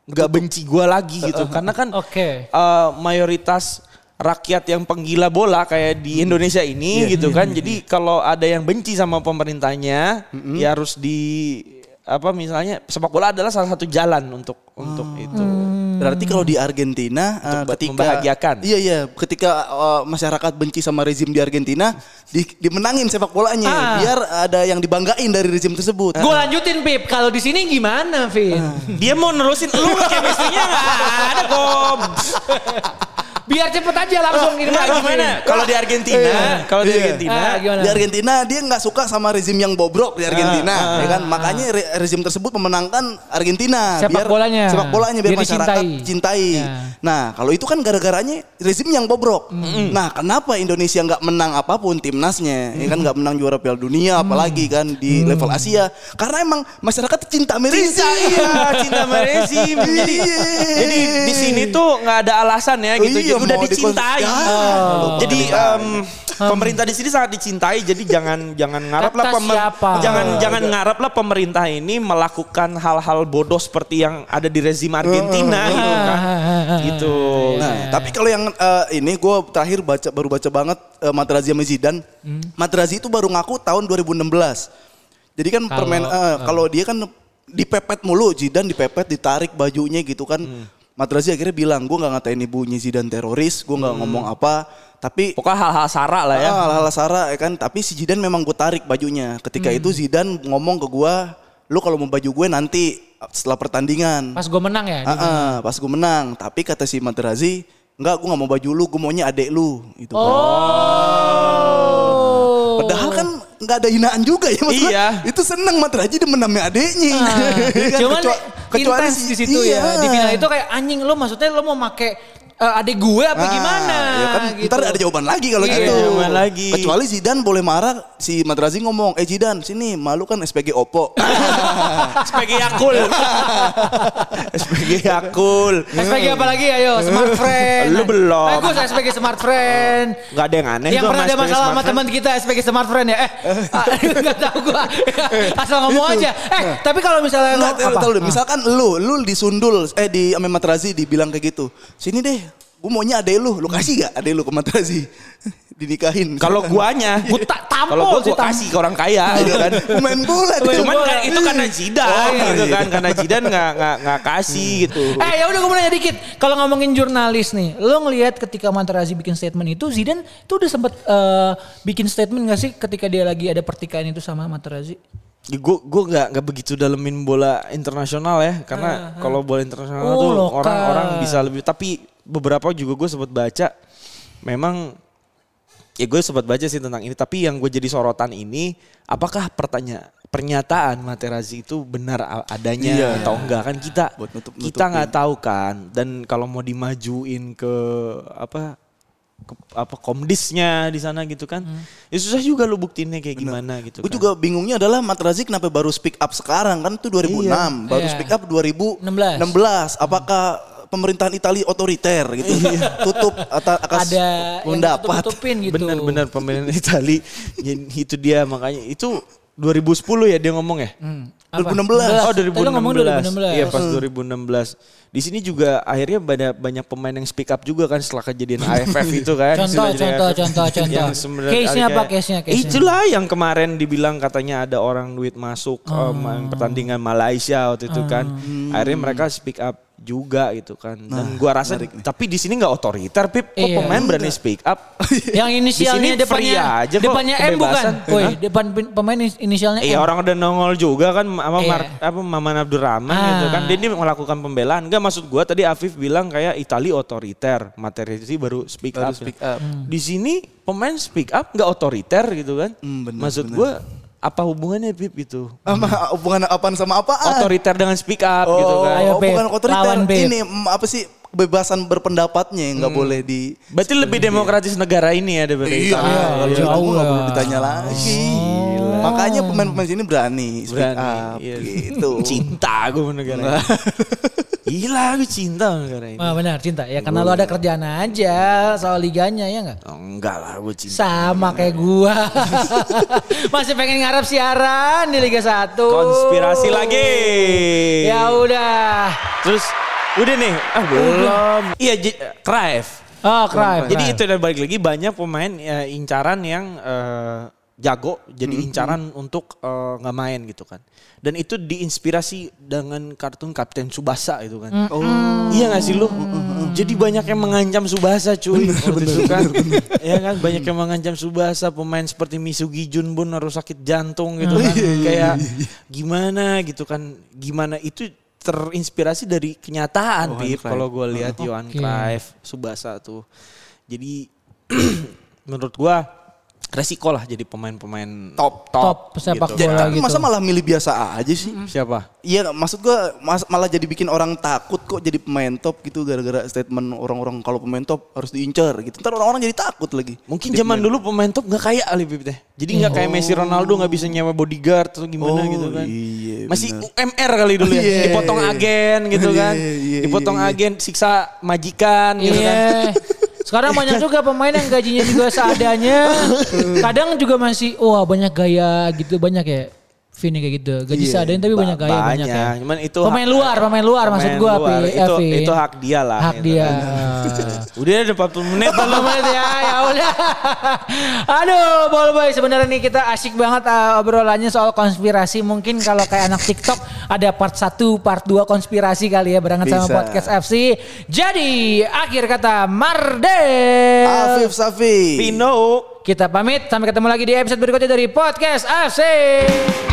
Speaker 1: nggak benci gua lagi gitu. Karena
Speaker 3: Oh,
Speaker 1: kan
Speaker 3: Oke.
Speaker 1: eh, mayoritas rakyat yang penggila bola kayak
Speaker 2: Hmm.
Speaker 1: di Indonesia
Speaker 2: Iya,
Speaker 1: ini gitu kan. Jadi kalau ada yang benci sama pemerintahnya
Speaker 2: Hmm.
Speaker 1: ya harus di apa misalnya sepak bola adalah salah satu jalan untuk untuk
Speaker 2: Hmm.
Speaker 1: itu.
Speaker 3: Hmm.
Speaker 2: Berarti kalau di Argentina eh,
Speaker 1: buat
Speaker 2: ketika
Speaker 1: membahagiakan.
Speaker 2: Iya iya, ketika eh, masyarakat benci sama rezim di Argentina, di- dimenangin sepak bolanya
Speaker 3: Ah.
Speaker 2: biar ada yang dibanggain dari rezim tersebut.
Speaker 3: Gue lanjutin Pip. Kalau di sini gimana, Fit?
Speaker 1: Ah. Dia mau nerusin lu chemistry-nya nggak ada kok.
Speaker 3: Biar cepet aja langsung ini
Speaker 1: Enggak,
Speaker 3: Pak,
Speaker 1: gimana? Kalau di Argentina, kalau di
Speaker 2: Iya.
Speaker 1: Argentina,
Speaker 3: Ah, gimana? Ah,
Speaker 2: Di Argentina dia nggak suka sama rezim yang bobrok di Argentina, ya kan? Makanya re- rezim tersebut memenangkan Argentina.
Speaker 3: Sepak
Speaker 2: biar,
Speaker 3: bolanya.
Speaker 2: Sepak bolanya biar,
Speaker 3: Biar
Speaker 2: masyarakat
Speaker 3: dicintai.
Speaker 2: cintai.
Speaker 3: Ya. Hmm.
Speaker 2: Nah kalau itu kan gara-garanya rezim yang bobrok. Nah kenapa Indonesia nggak menang apapun timnasnya? Ya
Speaker 3: Hmm.
Speaker 2: kan nggak menang juara Piala Dunia, apalagi kan di level Asia. Karena emang masyarakat cinta sama
Speaker 1: Cinta
Speaker 2: rezim.
Speaker 1: iya, cinta sama rezim. Jadi,
Speaker 2: Iya.
Speaker 1: jadi di sini tuh nggak ada alasan ya gitu.
Speaker 2: Iya,
Speaker 1: jadi udah
Speaker 2: mau dikons-
Speaker 1: dicintai. Ah.
Speaker 2: Ya.
Speaker 1: Jadi em, pemerintah di sini sangat dicintai. Jadi jangan jangan ngaraplah
Speaker 3: Kata siapa?
Speaker 1: jangan jangan ngaraplah pemerintah ini melakukan hal-hal bodoh seperti yang ada di rezim Argentina gitu kan. Gitu.
Speaker 2: Oh.
Speaker 3: Iya.
Speaker 2: Nah, tapi kalau yang eh, ini gue terakhir baca baru baca banget eh, Materazzi sama Zidane. Materazzi itu baru ngaku tahun 2016. Jadi kan
Speaker 3: Kalau-
Speaker 2: permen eh, kalau dia kan dipepet mulu, Zidane dipepet, ditarik bajunya gitu kan. Materazzi akhirnya bilang, gue nggak ngatain ibunya Zidane teroris, gue nggak ngomong apa. Tapi
Speaker 1: Pokoknya hal-hal sara lah ya.
Speaker 2: Ah, ala-ala Sarah ya kan. Tapi si Zidane memang gue tarik bajunya. Ketika itu Zidane ngomong ke gue, lu kalau mau baju gue nanti setelah pertandingan.
Speaker 3: Pas gue menang ya.
Speaker 2: Ah, ah, pas gue menang. Tapi kata si Materazzi, enggak gue gak mau baju lu, gue maunya adek lu. Gitu kan.
Speaker 3: Oh.
Speaker 2: Padahal kan nggak ada hinaan juga ya maksud gua,
Speaker 1: Iya.
Speaker 2: Itu seneng Materazzi demen sama adeknya. Ya kan,
Speaker 3: Ah. Cuman
Speaker 2: kecua-
Speaker 3: intens
Speaker 2: si-
Speaker 3: di situ
Speaker 2: iya.
Speaker 3: ya. Di final itu kayak anjing lo maksudnya lo mau make eh, adik gue apa
Speaker 2: Ah,
Speaker 3: gimana? Gitu.
Speaker 2: Ya kan, Ntar ada jawaban lagi kalau
Speaker 3: Iya,
Speaker 2: gitu.
Speaker 1: ada jawaban lagi.
Speaker 2: Kecuali Zidane boleh marah, si Materazzi ngomong, eh Zidane sini malu kan SPG Oppo.
Speaker 1: SPG Yakul. SPG Yakul.
Speaker 3: SPG
Speaker 2: Iya.
Speaker 3: apa lagi ayo smart friend.
Speaker 1: Lu belum.
Speaker 3: Eh, gue SPG smart friend.
Speaker 1: Gak ada yang aneh.
Speaker 2: Eh,
Speaker 3: yang
Speaker 1: gua
Speaker 3: pernah ada
Speaker 1: SPG
Speaker 3: masalah sama
Speaker 1: smartphone.
Speaker 3: teman kita SPG smart friend ya. Eh, ah, nggak tahu gue. Asal ngomong aja. Eh, tapi kalau misalnya lo
Speaker 2: Nah. Nggak, tahu, tahu
Speaker 3: Ah.
Speaker 2: deh. Misalkan lu, lu disundul, eh di sama Materazzi dibilang kayak gitu. Sini deh, gue maunya adek lu. Lu kasih gak adek lu ke Materazzi? Dinikahin.
Speaker 1: Kalau guanya,
Speaker 3: Gua tak tampol
Speaker 1: Kalau gua,
Speaker 3: sih,
Speaker 1: gua
Speaker 3: tampol.
Speaker 1: kasih ke orang kaya gitu kan.
Speaker 2: main bola dia.
Speaker 1: Cuman
Speaker 3: bola.
Speaker 1: kan itu karena Zidane
Speaker 2: Oh,
Speaker 1: gitu
Speaker 2: iya.
Speaker 1: kan, karena Zidane nggak nggak nggak kasih gitu.
Speaker 3: Eh ya udah gue mau nanya dikit. Kalau ngomongin jurnalis nih, lo ngelihat ketika Materazzi bikin statement itu, Zidane tuh udah sempet eh, bikin statement gak sih ketika dia lagi ada pertikaian itu sama Materazzi?
Speaker 1: Ya, Gue gue nggak nggak begitu dalemin bola internasional ya, karena kalau bola internasional
Speaker 3: Ah, Oh,
Speaker 1: tuh
Speaker 3: lokal.
Speaker 1: orang-orang bisa lebih. Tapi beberapa juga gue sempat baca, memang ya gue sempat baca sih tentang ini. Tapi yang gue jadi sorotan ini, apakah pertanyaan pernyataan Materazzi itu benar a- adanya
Speaker 2: Iya.
Speaker 1: atau enggak kan kita
Speaker 2: Buat nutup-
Speaker 1: kita
Speaker 2: nutupin.
Speaker 1: nggak tahu kan dan kalau mau dimajuin ke apa ke, apa komdisnya di sana gitu kan
Speaker 3: Hmm.
Speaker 1: ya susah juga lu buktiinnya kayak gimana gitu
Speaker 2: Gue
Speaker 1: kan.
Speaker 2: juga bingungnya adalah Materazzi kenapa baru speak up sekarang kan itu 2006, baru
Speaker 3: Iya.
Speaker 2: speak up 2016.
Speaker 3: 16.
Speaker 2: Apakah pemerintahan Italia otoriter gitu? tutup atau akas
Speaker 3: ada
Speaker 2: pendapat.
Speaker 3: tutupin gitu.
Speaker 1: Benar-benar pemain Itali. Ya, itu dia makanya itu 2010 ya dia ngomong ya.
Speaker 3: Hmm, apa?
Speaker 2: 2016.
Speaker 1: Oh
Speaker 3: Tadi lo
Speaker 1: 2016.
Speaker 3: ngomong 2016.
Speaker 1: Iya pas 2016. Di sini juga akhirnya banyak banyak pemain yang speak up juga kan setelah kejadian AFF itu kan.
Speaker 3: Contoh,
Speaker 1: Setelah kejadian
Speaker 3: contoh,
Speaker 1: AFF.
Speaker 3: contoh, contoh.
Speaker 1: Yang sebenarnya
Speaker 3: Case-nya
Speaker 1: kayak-
Speaker 3: apa, case-nya, case-nya?
Speaker 1: Itulah yang kemarin dibilang katanya ada orang duit masuk
Speaker 3: Oh.
Speaker 1: em, pertandingan Malaysia waktu itu kan. Akhirnya mereka speak up juga gitu kan. Dan gua rasa tapi di sini nggak otoriter Pip. Kok
Speaker 3: Iya.
Speaker 1: pemain berani speak up?
Speaker 3: Yang inisialnya
Speaker 1: Di sini free
Speaker 3: depannya
Speaker 1: aja kok,
Speaker 3: depannya M bukan?
Speaker 1: kebebasan.
Speaker 3: Woi,
Speaker 1: Hah?
Speaker 3: depan pin- pemain is- inisialnya
Speaker 1: Iya
Speaker 3: M.
Speaker 1: orang udah nongol juga kan sama
Speaker 3: Eh. Iya.
Speaker 1: Mar- apa Maman Abdurrahman
Speaker 3: Ah.
Speaker 1: gitu kan. Dia ini melakukan pembelaan. Enggak maksud gua tadi Afif bilang kayak Itali otoriter, materi sih baru speak up.
Speaker 2: Baru
Speaker 1: ya.
Speaker 2: speak up.
Speaker 3: Hmm.
Speaker 1: Di sini pemain speak up enggak otoriter gitu kan.
Speaker 2: Hmm, bener,
Speaker 1: maksud
Speaker 2: bener.
Speaker 1: gua apa hubungannya Pip itu?
Speaker 2: Sama hubungan apaan sama
Speaker 3: Ah.
Speaker 2: apaan?
Speaker 1: Otoriter dengan speak up gitu kan.
Speaker 3: Ayo,
Speaker 2: Oh,
Speaker 3: Beb.
Speaker 2: bukan otoriter.
Speaker 3: Lawan, Beb.
Speaker 2: Ini mm, apa sih kebebasan berpendapatnya yang
Speaker 1: Hmm.
Speaker 2: nggak boleh di
Speaker 1: Berarti lebih
Speaker 2: Iya.
Speaker 1: demokratis negara ini ya daripada Itali.
Speaker 2: kalau
Speaker 3: iya.
Speaker 2: gitu
Speaker 3: Jauh
Speaker 2: gue nggak
Speaker 3: lah.
Speaker 2: perlu ditanya lagi. Makanya pemain-pemain sini berani speak
Speaker 1: Berani,
Speaker 2: up
Speaker 1: iya.
Speaker 2: gitu.
Speaker 1: Cinta gue sama negara ini. Gila gue cinta sama negara ini.
Speaker 3: Ah, benar, cinta. Ya karena lo ada kerjaan aja soal liganya ya enggak?
Speaker 1: Oh, enggak lah gue cinta.
Speaker 3: Sama kayak gua. Masih pengen ngarap siaran di Liga 1.
Speaker 1: Oh. Konspirasi lagi.
Speaker 3: Ya udah.
Speaker 1: Terus udah nih, ah belum. Iya, J- Cruyff.
Speaker 3: Oh, Cruyff.
Speaker 1: Jadi
Speaker 3: Cruyff.
Speaker 1: itu dan balik lagi banyak pemain eh, incaran yang eh, jago jadi incaran untuk eh, nggak main gitu kan. Dan itu diinspirasi dengan kartun Kapten Subasa itu kan. Oh.
Speaker 2: Hmm.
Speaker 1: Iya gak sih lu? Jadi banyak yang mengancam Subasa cuy. waktu itu kan. Iya kan banyak yang mengancam Subasa pemain seperti Misugi Jun pun harus sakit jantung gitu kan. Kayak gimana gitu kan. Gimana itu terinspirasi dari kenyataan,
Speaker 2: Johan
Speaker 1: Pip.
Speaker 2: Cruyff.
Speaker 1: Kalau gue lihat Johan
Speaker 3: Oke.
Speaker 1: Cruyff, Subasa tuh. Jadi menurut gue resiko lah jadi pemain-pemain
Speaker 2: Top.
Speaker 3: Top Hmm. sepak
Speaker 1: gitu.
Speaker 3: bola
Speaker 2: Tapi
Speaker 3: gitu.
Speaker 2: masa malah milih biasa aja sih?
Speaker 1: Siapa?
Speaker 2: Iya, maksud gua mas- malah jadi bikin orang takut kok jadi pemain top gitu gara-gara statement orang-orang kalau pemain top harus diincar gitu. Ntar orang-orang jadi takut lagi.
Speaker 1: Mungkin zaman dulu pemain top nggak kayak Ali Bib teh. Jadi nggak kayak Messi Ronaldo nggak bisa nyewa bodyguard atau gimana
Speaker 2: Oh,
Speaker 1: gitu kan.
Speaker 2: iya,
Speaker 1: Masih
Speaker 2: benar.
Speaker 1: UMR kali dulu ya.
Speaker 2: Iya.
Speaker 1: Dipotong agen gitu
Speaker 2: Iya,
Speaker 1: kan.
Speaker 2: iya, iya,
Speaker 1: Dipotong
Speaker 2: iya.
Speaker 1: agen siksa majikan gitu kan.
Speaker 3: Iya. Sekarang banyak juga pemain yang gajinya juga seadanya. Kadang juga masih wah banyak gaya gitu banyak ya. Vini kayak gitu. Gaji
Speaker 2: Iya,
Speaker 3: seadanya tapi
Speaker 1: Ba-
Speaker 3: banyak gaya banyak, ya.
Speaker 1: Cuman itu
Speaker 3: pemain luar, pemain luar maksud
Speaker 1: pemain
Speaker 3: gua
Speaker 1: luar.
Speaker 3: Pi-
Speaker 1: Itu
Speaker 3: Vin.
Speaker 1: itu hak dia lah.
Speaker 3: Hak
Speaker 1: gitu
Speaker 3: dia. Ah.
Speaker 1: kan. Udah ada 40 menit
Speaker 3: Belum
Speaker 1: belum.
Speaker 3: menit ya, ya udah. Aduh, Bolboy sebenarnya nih kita asik banget uh, obrolannya soal konspirasi. Mungkin kalau kayak anak TikTok ada part 1, part 2 konspirasi kali ya barengan sama
Speaker 2: Bisa.
Speaker 3: podcast FC. Jadi, akhir kata Mardel.
Speaker 2: Afif Safi.
Speaker 1: Pino.
Speaker 3: Kita pamit sampai ketemu lagi di episode berikutnya dari podcast FC.